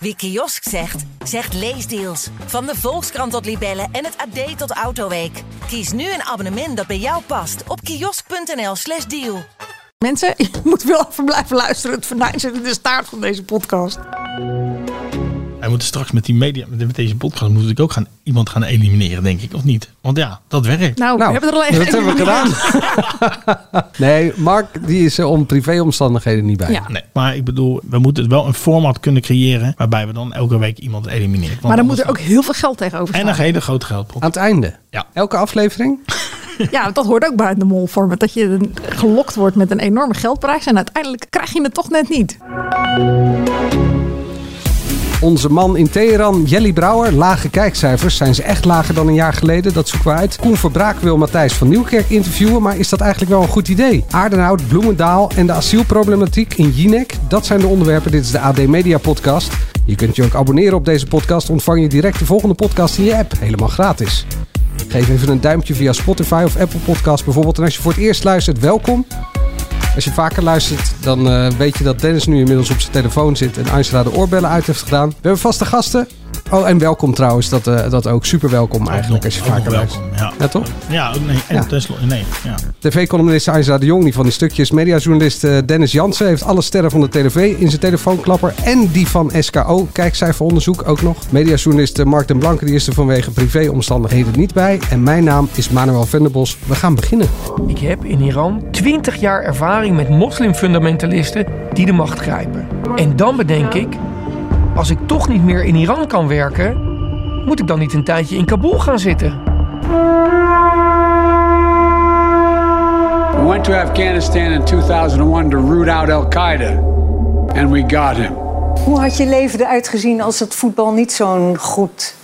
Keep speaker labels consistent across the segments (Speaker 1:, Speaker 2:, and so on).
Speaker 1: Wie kiosk zegt, zegt leesdeals. Van de Volkskrant tot Libellen en het AD tot Autoweek. Kies nu een abonnement dat bij jou past op kiosk.nl/slash deal.
Speaker 2: Mensen, je moet wel even blijven luisteren. Het venijn zit in de staart van deze podcast.
Speaker 3: Wij moeten straks met die media, met met deze podcast, moet ik ook gaan, iemand gaan elimineren, denk ik, of niet? Want ja, dat werkt.
Speaker 2: Nou, we hebben er al echt
Speaker 4: dat hebben we gedaan. nee, Mark die is er om privéomstandigheden niet bij.
Speaker 2: Ja.
Speaker 3: Nee, maar ik bedoel, we moeten wel een format kunnen creëren waarbij we dan elke week iemand elimineren. Want
Speaker 2: Maar dan moet er
Speaker 3: anders-
Speaker 2: ook heel veel geld tegenover
Speaker 3: En een
Speaker 2: staan.
Speaker 3: hele grote geldpot.
Speaker 4: Aan het einde.
Speaker 3: Ja.
Speaker 4: Elke aflevering.
Speaker 2: Ja, want dat hoort ook bij de molvormen. Dat je gelokt wordt met een enorme geldprijs. En uiteindelijk krijg je het toch net niet.
Speaker 4: Onze man in Teheran, Jelly Brouwer. Lage kijkcijfers. Zijn ze echt lager dan een jaar geleden? Dat zoeken we uit. Koen Verbraak wil Matthijs van Nieuwkerk interviewen. Maar is dat eigenlijk wel een goed idee? Aardenhout, Bloemendaal en de asielproblematiek in Jinek. Dat zijn de onderwerpen. Dit is de AD Media Podcast. Je kunt je ook abonneren op deze podcast. Ontvang je direct de volgende podcast in je app. Helemaal gratis. Geef even een duimpje via Spotify of Apple Podcast bijvoorbeeld. En als je voor het eerst luistert, welkom. Als je vaker luistert, dan eh, weet je dat Dennis nu inmiddels op zijn telefoon zit en Angela de oorbellen uit heeft gedaan. We hebben vaste gasten. Oh, en welkom trouwens. Dat, eh, dat ook super welkom eigenlijk als je
Speaker 3: Ook nog
Speaker 4: vaker luistert.
Speaker 3: welkom, ja.
Speaker 4: Ja, toch?
Speaker 3: Ja, ook nee, en
Speaker 4: Ja.
Speaker 3: tenslotte, nee, ja.
Speaker 4: TV-columnist Angela de Jong, die van die stukjes. Mediajournalist eh, Dennis Jansen heeft alle sterren van de TV in zijn telefoonklapper. En die van SKO. Kijkcijferonderzoek ook nog. Mediajournalist eh, Mark den Blanke, die is er vanwege privéomstandigheden niet bij. En mijn naam is Manuel Venderbos. We gaan beginnen.
Speaker 5: Ik heb in Iran 20 jaar ervaring met moslimfundamentalisten die de macht grijpen. En dan bedenk ik, als ik toch niet meer in Iran kan werken, moet ik dan niet een tijdje in Kabul gaan zitten?
Speaker 6: We went to Afghanistan in 2001 to root out Al Qaeda, and we got him.
Speaker 7: Hoe had je leven eruit gezien als het voetbal niet zo'n goed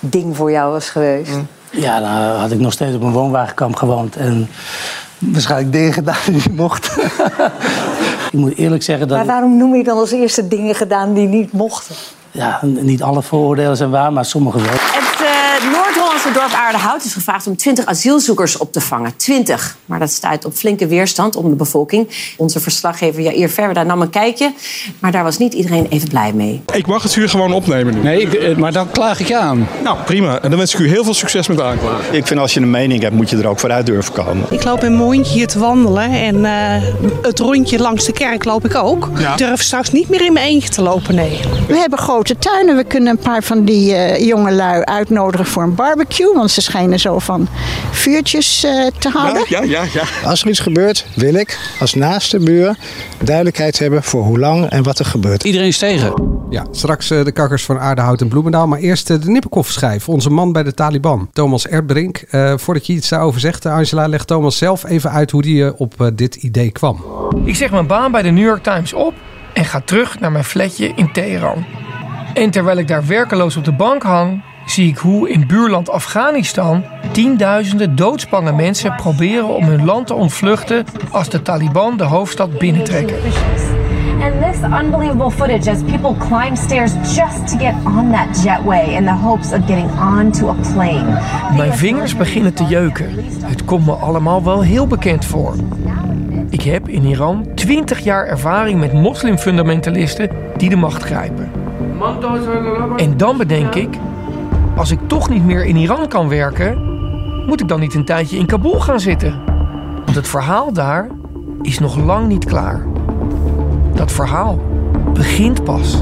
Speaker 7: ding voor jou was geweest?
Speaker 8: Ja, dan had ik nog steeds op een woonwagenkamp gewoond. En waarschijnlijk dingen gedaan die niet mochten. ik moet eerlijk zeggen dat...
Speaker 7: Maar waarom noem je dan als eerste dingen gedaan die niet mochten?
Speaker 8: Ja, niet alle vooroordelen zijn waar, maar sommige wel.
Speaker 9: Het eh, Noord-Hollandse dorp Aardehout is gevraagd om 20 asielzoekers op te vangen. 20. Maar dat stuit op flinke weerstand onder de bevolking. Onze verslaggever Jair Verwe daar nam een kijkje. Maar daar was niet iedereen even blij mee.
Speaker 10: Ik mag het vuur gewoon opnemen nu.
Speaker 6: Nee, eh, maar dan klaag ik je aan.
Speaker 10: Nou, prima. En dan wens ik u heel veel succes met aanklagen. Ik vind als je een mening hebt, moet je er ook vooruit durven komen.
Speaker 11: Ik loop in mijn hondje hier te wandelen en eh, het rondje langs de kerk loop ik ook.
Speaker 10: Ja.
Speaker 11: Ik durf straks niet meer in mijn eentje te lopen, nee.
Speaker 9: We hebben grote tuinen. We kunnen een paar van die eh, jongelui uitnodigen voor een barbecue. Want ze schijnen zo van vuurtjes eh, te houden.
Speaker 10: ja, ja, ja.
Speaker 8: Als er iets gebeurt, wil ik als naaste buur duidelijkheid hebben voor hoe lang en wat er gebeurt.
Speaker 4: Iedereen is tegen. Ja, straks eh, de kakkers van Aardehout en Bloemendaal. Maar eerst eh, de Nippenkoff-schijf. Onze man bij de Taliban, Thomas Erbrink. Eh, voordat je iets daarover zegt, eh, Angela, legt Thomas zelf even uit hoe hij eh, op eh, dit idee kwam.
Speaker 5: Ik zeg mijn baan bij de New York Times op en ga terug naar mijn flatje in Teheran. En terwijl ik daar werkeloos op de bank hang, zie ik hoe in buurland Afghanistan tienduizenden doodsbange mensen proberen om hun land te ontvluchten als de Taliban de hoofdstad binnentrekken.
Speaker 9: And this unbelievable footage as people climb stairs just to get on that jetway in the hopes of getting onto a plane.
Speaker 5: Mijn vingers beginnen te jeuken. Het komt me allemaal wel heel bekend voor. Ik heb in Iran 20 jaar ervaring met moslimfundamentalisten die de macht grijpen. En dan bedenk ik, als ik toch niet meer in Iran kan werken, moet ik dan niet een tijdje in Kabul gaan zitten? Want het verhaal daar is nog lang niet klaar. Dat verhaal begint pas.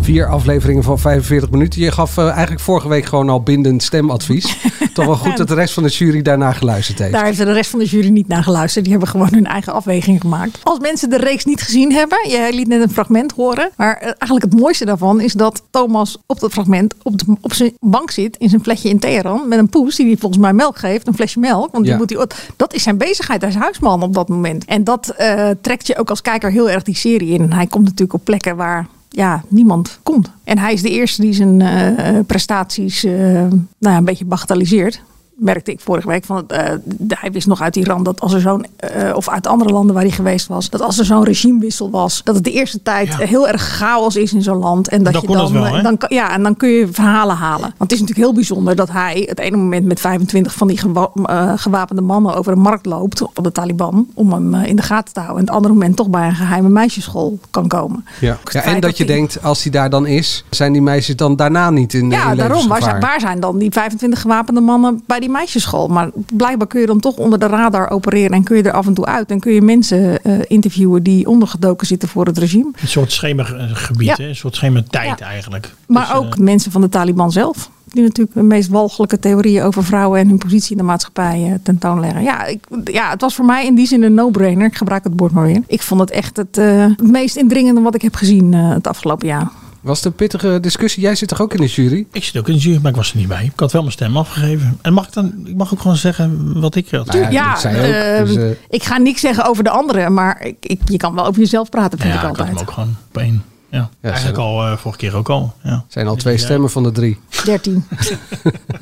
Speaker 4: Vier afleveringen van 45 minuten. Je gaf eh, eigenlijk vorige week gewoon al bindend stemadvies. Toch wel goed dat de rest van de jury daarna geluisterd heeft.
Speaker 2: Daar heeft de rest van de jury niet naar geluisterd. Die hebben gewoon hun eigen afweging gemaakt. Als mensen de reeks niet gezien hebben, jij liet net een fragment horen. Maar eh, eigenlijk het mooiste daarvan is dat Thomas op dat fragment op, de- op zijn bank zit in zijn flesje in Teheran. Met een poes die hij volgens mij melk geeft, een flesje melk. Want
Speaker 4: Ja.
Speaker 2: die moet hij, dat is zijn bezigheid, hij is huisman op dat moment. En dat eh, trekt je ook als kijker heel erg die serie in. Hij komt natuurlijk op plekken waar ja, niemand komt. En hij is de eerste die zijn eh, prestaties eh, nou, ja, een beetje bagatelliseert. merkte ik vorige week van eh, de- hij wist nog uit Iran dat als er zo'n eh, of uit andere landen waar hij geweest was, dat als er zo'n regimewissel was, dat het de eerste tijd eh, heel erg chaos is in zo'n land en dat
Speaker 12: Dan
Speaker 2: je
Speaker 12: kon dat
Speaker 2: dan,
Speaker 12: wel,
Speaker 2: eh,
Speaker 12: hè?
Speaker 2: dan kan- ja en dan kun je verhalen halen. Want het is natuurlijk heel bijzonder dat hij het ene moment met 25 van die gewa- eh, gewapende mannen over de markt loopt van de Taliban om hem eh, in de gaten te houden en het andere moment toch bij een geheime meisjesschool kan komen.
Speaker 4: Ja. ja, en
Speaker 2: feit
Speaker 4: dat
Speaker 2: dat
Speaker 4: je
Speaker 2: die-
Speaker 4: denkt, als hij daar dan is, zijn die meisjes dan daarna niet in, eh,
Speaker 2: Ja,
Speaker 4: in
Speaker 2: daarom. Waar
Speaker 4: levensgevaar?
Speaker 2: zijn, waar zijn dan die 25 gewapende mannen bij die meisjesschool? Maar blijkbaar kun je dan toch onder de radar opereren en kun je er af en toe uit. En kun je mensen eh, interviewen die ondergedoken zitten voor het regime.
Speaker 3: Een soort schemergebied,
Speaker 2: Ja.
Speaker 3: hè? een soort schemertijd
Speaker 2: Ja.
Speaker 3: eigenlijk. Dus, eh,
Speaker 2: Maar ook mensen van de Taliban zelf. Die natuurlijk de meest walgelijke theorieën over vrouwen en hun positie in de maatschappij eh, tentoonleggen. Ja, ik, ja, het was voor mij in die zin een no-brainer. Ik gebruik het woord maar weer. Ik vond het echt het, eh, het meest indringende wat ik heb gezien eh, het afgelopen jaar.
Speaker 4: Was het een pittige discussie? Jij zit toch ook in de jury?
Speaker 3: Ik zit ook in de jury, maar ik was er niet bij. Ik had wel mijn stem afgegeven. En mag ik dan, ik mag ook gewoon zeggen wat ik had.
Speaker 2: Tuurlijk, ja, ehm,
Speaker 3: Dus, eh,
Speaker 2: ik ga niks zeggen over de anderen, maar ik, ik, je kan wel over jezelf praten, vind
Speaker 3: ja,
Speaker 2: ik
Speaker 3: ik had
Speaker 2: altijd.
Speaker 3: hem ook gewoon op één. Ja. Eigenlijk
Speaker 4: zijn-
Speaker 3: al eh, vorige keer ook al. Ja.
Speaker 4: Zijn al twee stemmen van de drie.
Speaker 2: 13.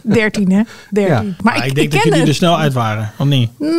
Speaker 2: 13, hè? 13.
Speaker 3: Ja. Maar ik, denk dat jullie dus er snel uit waren. Of niet?
Speaker 2: Mm,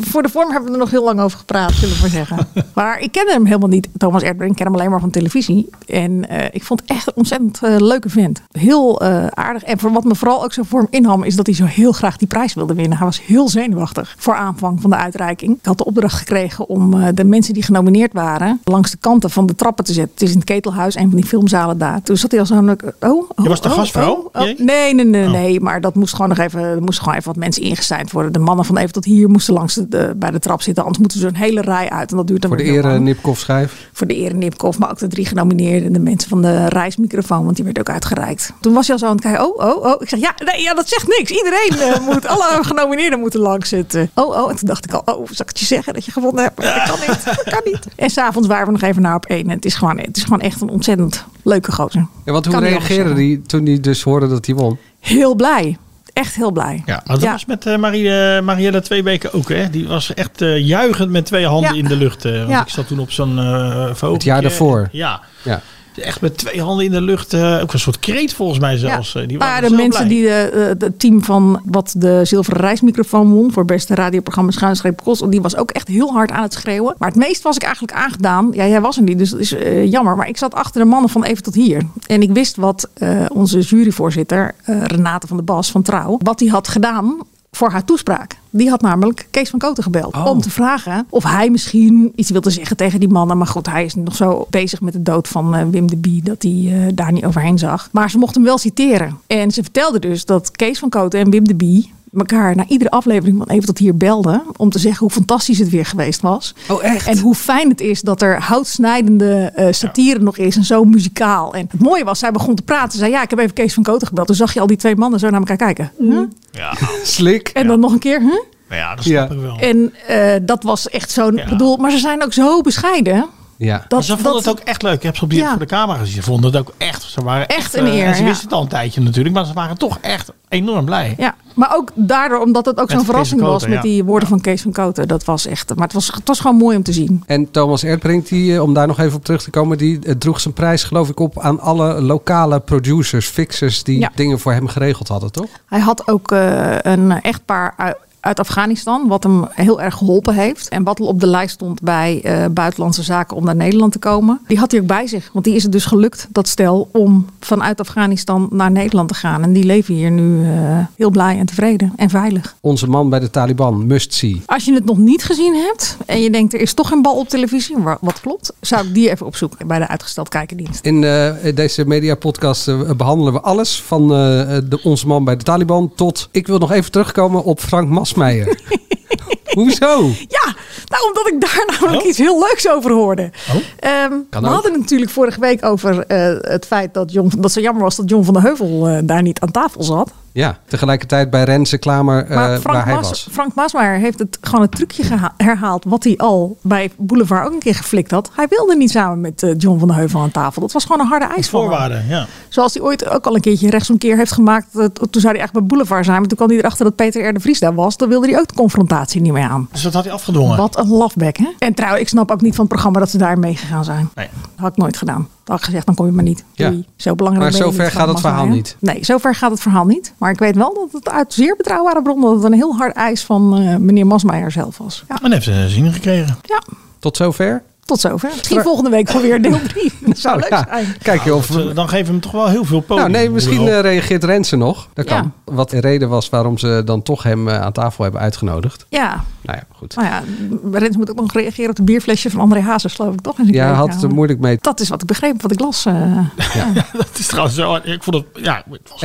Speaker 2: voor de vorm hebben we er nog heel lang over gepraat, zullen we maar zeggen. Maar ik ken hem helemaal niet, Thomas Erdbrink. Ik ken hem alleen maar van televisie. En eh, ik vond het echt een ontzettend eh, leuke vent. Heel eh, aardig. En voor wat me vooral ook zo voor hem inham, is dat hij zo heel graag die prijs wilde winnen. Hij was heel zenuwachtig voor aanvang van de uitreiking. Ik had de opdracht gekregen om eh, de mensen die genomineerd waren langs de kanten van de trappen te zetten. Het is in het Ketelhuis, een van die filmzalen daar. Toen zat hij al zo. Oh, oh,
Speaker 3: Je was de
Speaker 2: oh,
Speaker 3: gastvrouw?
Speaker 2: oh, oh. Nee, nee, nee, nee. Maar dat moest gewoon nog even, er moesten gewoon even wat mensen ingeseind worden. De mannen van even tot hier moesten langs de, de- bij de trap zitten. Anders moeten ze een hele rij uit. En dat duurt dan
Speaker 4: Voor de
Speaker 2: weer heel
Speaker 4: ere
Speaker 2: lang.
Speaker 4: Nipkoff schijf.
Speaker 2: Voor de ere Nipkoff, maar ook de drie genomineerden. En de mensen van de reismicrofoon, want die werd ook uitgereikt. Toen was hij al zo aan het kijken. Oh, oh, oh. Ik zeg, ja, nee, ja dat zegt niks. Iedereen eh, moet, alle genomineerden moeten langs zitten. Oh, oh. En toen dacht ik al, oh, zal ik het je zeggen dat je gewonnen hebt? Maar Dat kan niet, dat kan niet. En s'avonds waren we nog even naar op één. En het is gewoon, het is gewoon echt een ontzettend leuke gozer.
Speaker 4: Ja, want hoe
Speaker 2: Kan niet anders
Speaker 4: reageerden
Speaker 2: zeggen.
Speaker 4: die toen die dus hoorden dat hij won?
Speaker 2: Heel blij. Echt heel blij.
Speaker 3: Ja, maar dat was met eh, Marie, eh, Marielle twee weken ook. Hè? Die was echt eh, juichend met twee handen
Speaker 2: Ja.
Speaker 3: in de lucht. eh, want
Speaker 2: Ja.
Speaker 3: ik zat toen op zo'n eh vogeltje.
Speaker 4: Het jaar daarvoor.
Speaker 3: Ja.
Speaker 4: Ja.
Speaker 3: Echt met twee handen in de lucht. eh, ook een soort kreet volgens mij zelfs. Eh, Die
Speaker 2: maar
Speaker 3: waren
Speaker 2: de
Speaker 3: zo
Speaker 2: mensen
Speaker 3: blij.
Speaker 2: die de- eh, het team van wat de zilveren reismicrofoon won voor beste radioprogramma Schuinstreep Kost, die was ook echt heel hard aan het schreeuwen. Maar het meest was ik eigenlijk aangedaan. Ja, jij was er niet, dus dat is eh, jammer. Maar ik zat achter de mannen van even tot hier. En ik wist wat eh, onze juryvoorzitter, eh, Renate van der Bas van Trouw, wat hij had gedaan voor haar toespraak. Die had namelijk Kees van Koten gebeld
Speaker 4: Oh.
Speaker 2: om te vragen of hij misschien iets wilde zeggen tegen die mannen. Maar goed, hij is nog zo bezig met de dood van eh, Wim de Bie dat hij eh, daar niet overheen zag. Maar ze mocht hem wel citeren. En ze vertelde dus dat Kees van Koten en Wim de Bie elkaar na iedere aflevering van Even tot hier belden om te zeggen hoe fantastisch het weer geweest was.
Speaker 4: Oh, echt?
Speaker 2: En hoe fijn het is dat er houtsnijdende eh, satire nog is en zo muzikaal. En het mooie was, zij begon te praten. Ze zei, ja, ik heb even Kees van Koten gebeld. Toen zag je al die twee mannen zo naar elkaar kijken. Huh?
Speaker 3: Ja,
Speaker 4: Slik.
Speaker 2: En dan nog een keer, huh?
Speaker 3: nou ja, dat snap
Speaker 4: Ja.
Speaker 3: ik wel.
Speaker 2: En eh, dat was echt zo'n bedoel. Maar ze zijn ook zo bescheiden.
Speaker 4: Ja.
Speaker 2: Dat,
Speaker 3: ze vonden het ook echt leuk. Ik heb ze op die,
Speaker 2: Ja.
Speaker 3: voor de camera gezien. Ze vonden het ook echt. Ze waren echt,
Speaker 2: een
Speaker 3: eh,
Speaker 2: eer,
Speaker 3: en ze
Speaker 2: ja.
Speaker 3: wisten het al een tijdje natuurlijk. Maar ze waren toch echt enorm blij.
Speaker 2: Ja, maar ook daardoor, omdat het ook
Speaker 3: Met Kees
Speaker 2: zo'n
Speaker 3: van
Speaker 2: verrassing
Speaker 3: Koten,
Speaker 2: was met
Speaker 3: ja.
Speaker 2: die woorden van Kees van Koten. Dat was echt, maar het was, het was gewoon mooi om te zien.
Speaker 4: En Thomas Erdbrink, die, eh, om daar nog even op terug te komen, die eh, droeg zijn prijs geloof ik op aan alle lokale producers, fixers die
Speaker 2: Ja.
Speaker 4: dingen voor hem geregeld hadden, toch?
Speaker 2: Hij had ook eh, een echtpaar uit, uit Afghanistan, wat hem heel erg geholpen heeft. En wat al op de lijst stond bij eh, Buitenlandse Zaken om naar Nederland te komen. Die had hij ook bij zich, want die is het dus gelukt, dat stel, om vanuit Afghanistan naar Nederland te gaan. En die leven hier nu eh, heel blij en tevreden en veilig.
Speaker 4: Onze man bij de Taliban, must see.
Speaker 2: Als je het nog niet gezien hebt en je denkt er is toch een bal op televisie, wa- wat klopt, zou ik die even opzoeken bij de uitgesteld kijkendienst.
Speaker 4: In eh, deze mediapodcast eh, behandelen we alles van eh, de Onze Man bij de Taliban tot... Ik wil nog even terugkomen op Frank Masmeijer. Hoezo?
Speaker 2: Ja, nou omdat ik daar namelijk iets heel leuks over hoorde. Ehm,
Speaker 4: Oh. Kan
Speaker 2: we
Speaker 4: ook.
Speaker 2: hadden het natuurlijk vorige week over eh, het feit dat, John, dat ze jammer was dat John van der Heuvel eh, daar niet aan tafel zat.
Speaker 4: Ja, tegelijkertijd bij Renze Klamer eh,
Speaker 2: Maar Frank,
Speaker 4: waar Eh, hij
Speaker 2: Mas-
Speaker 4: was.
Speaker 2: Frank Maasmaier heeft het, gewoon het trucje geha- herhaald wat hij al bij Boulevard ook een keer geflikt had. Hij wilde niet samen met eh, John van der Heuvel aan tafel. Dat was gewoon een harde ijsvorm.
Speaker 3: Voorwaarden, ja.
Speaker 2: Zoals hij ooit ook al een keertje rechtsomkeer heeft gemaakt. eh, Toen zou hij echt bij Boulevard zijn. Maar toen kwam hij erachter dat Peter R. de Vries daar was. Dan wilde hij ook de confrontatie niet meer aan.
Speaker 3: Dus dat had hij afgedwongen.
Speaker 2: Wat een lafbek, hè? En trouwens, ik snap ook niet van het programma dat ze daar meegegaan zijn.
Speaker 3: Nee.
Speaker 2: had ik nooit gedaan. Dan had ik gezegd, dan kom je maar niet.
Speaker 4: Ja.
Speaker 2: Doei. Zo belangrijk
Speaker 4: Maar
Speaker 2: ben je
Speaker 4: zover
Speaker 2: niet,
Speaker 4: gaat het
Speaker 2: allemaal
Speaker 4: verhaal
Speaker 2: zo, hè? Nee, zover gaat het verhaal niet. Maar ik weet wel dat het uit zeer betrouwbare bronnen... dat het een heel hard eis van eh, meneer Masmeijer zelf was. Ja,
Speaker 3: En heeft ze zin gekregen.
Speaker 2: Ja.
Speaker 4: Tot zover?
Speaker 2: tot zover. Misschien
Speaker 4: Maar-
Speaker 2: volgende week gewoon weer deel 3. Dat zou leuk
Speaker 4: Oh, ja.
Speaker 2: zijn.
Speaker 4: Kijk, of...
Speaker 3: Dan geven we hem toch wel heel veel podium.
Speaker 4: Nou, nee,
Speaker 3: Oh.
Speaker 4: misschien eh, reageert Rensen nog. Dat
Speaker 2: Ja.
Speaker 4: kan. Wat de reden was waarom ze dan toch hem eh, aan tafel hebben uitgenodigd.
Speaker 2: Ja,
Speaker 4: Nou ja, goed.
Speaker 2: nou ja, Rens moet ook nog reageren op de bierflesje van André Hazes, geloof ik toch? in zijn
Speaker 4: Ja, hij had het er
Speaker 2: kleedkamer.
Speaker 4: moeilijk mee.
Speaker 2: Dat is wat ik begreep, wat ik las. eh.
Speaker 3: Het is trouwens zo. Ik vond het. Ja, het was een
Speaker 4: Even
Speaker 3: grappig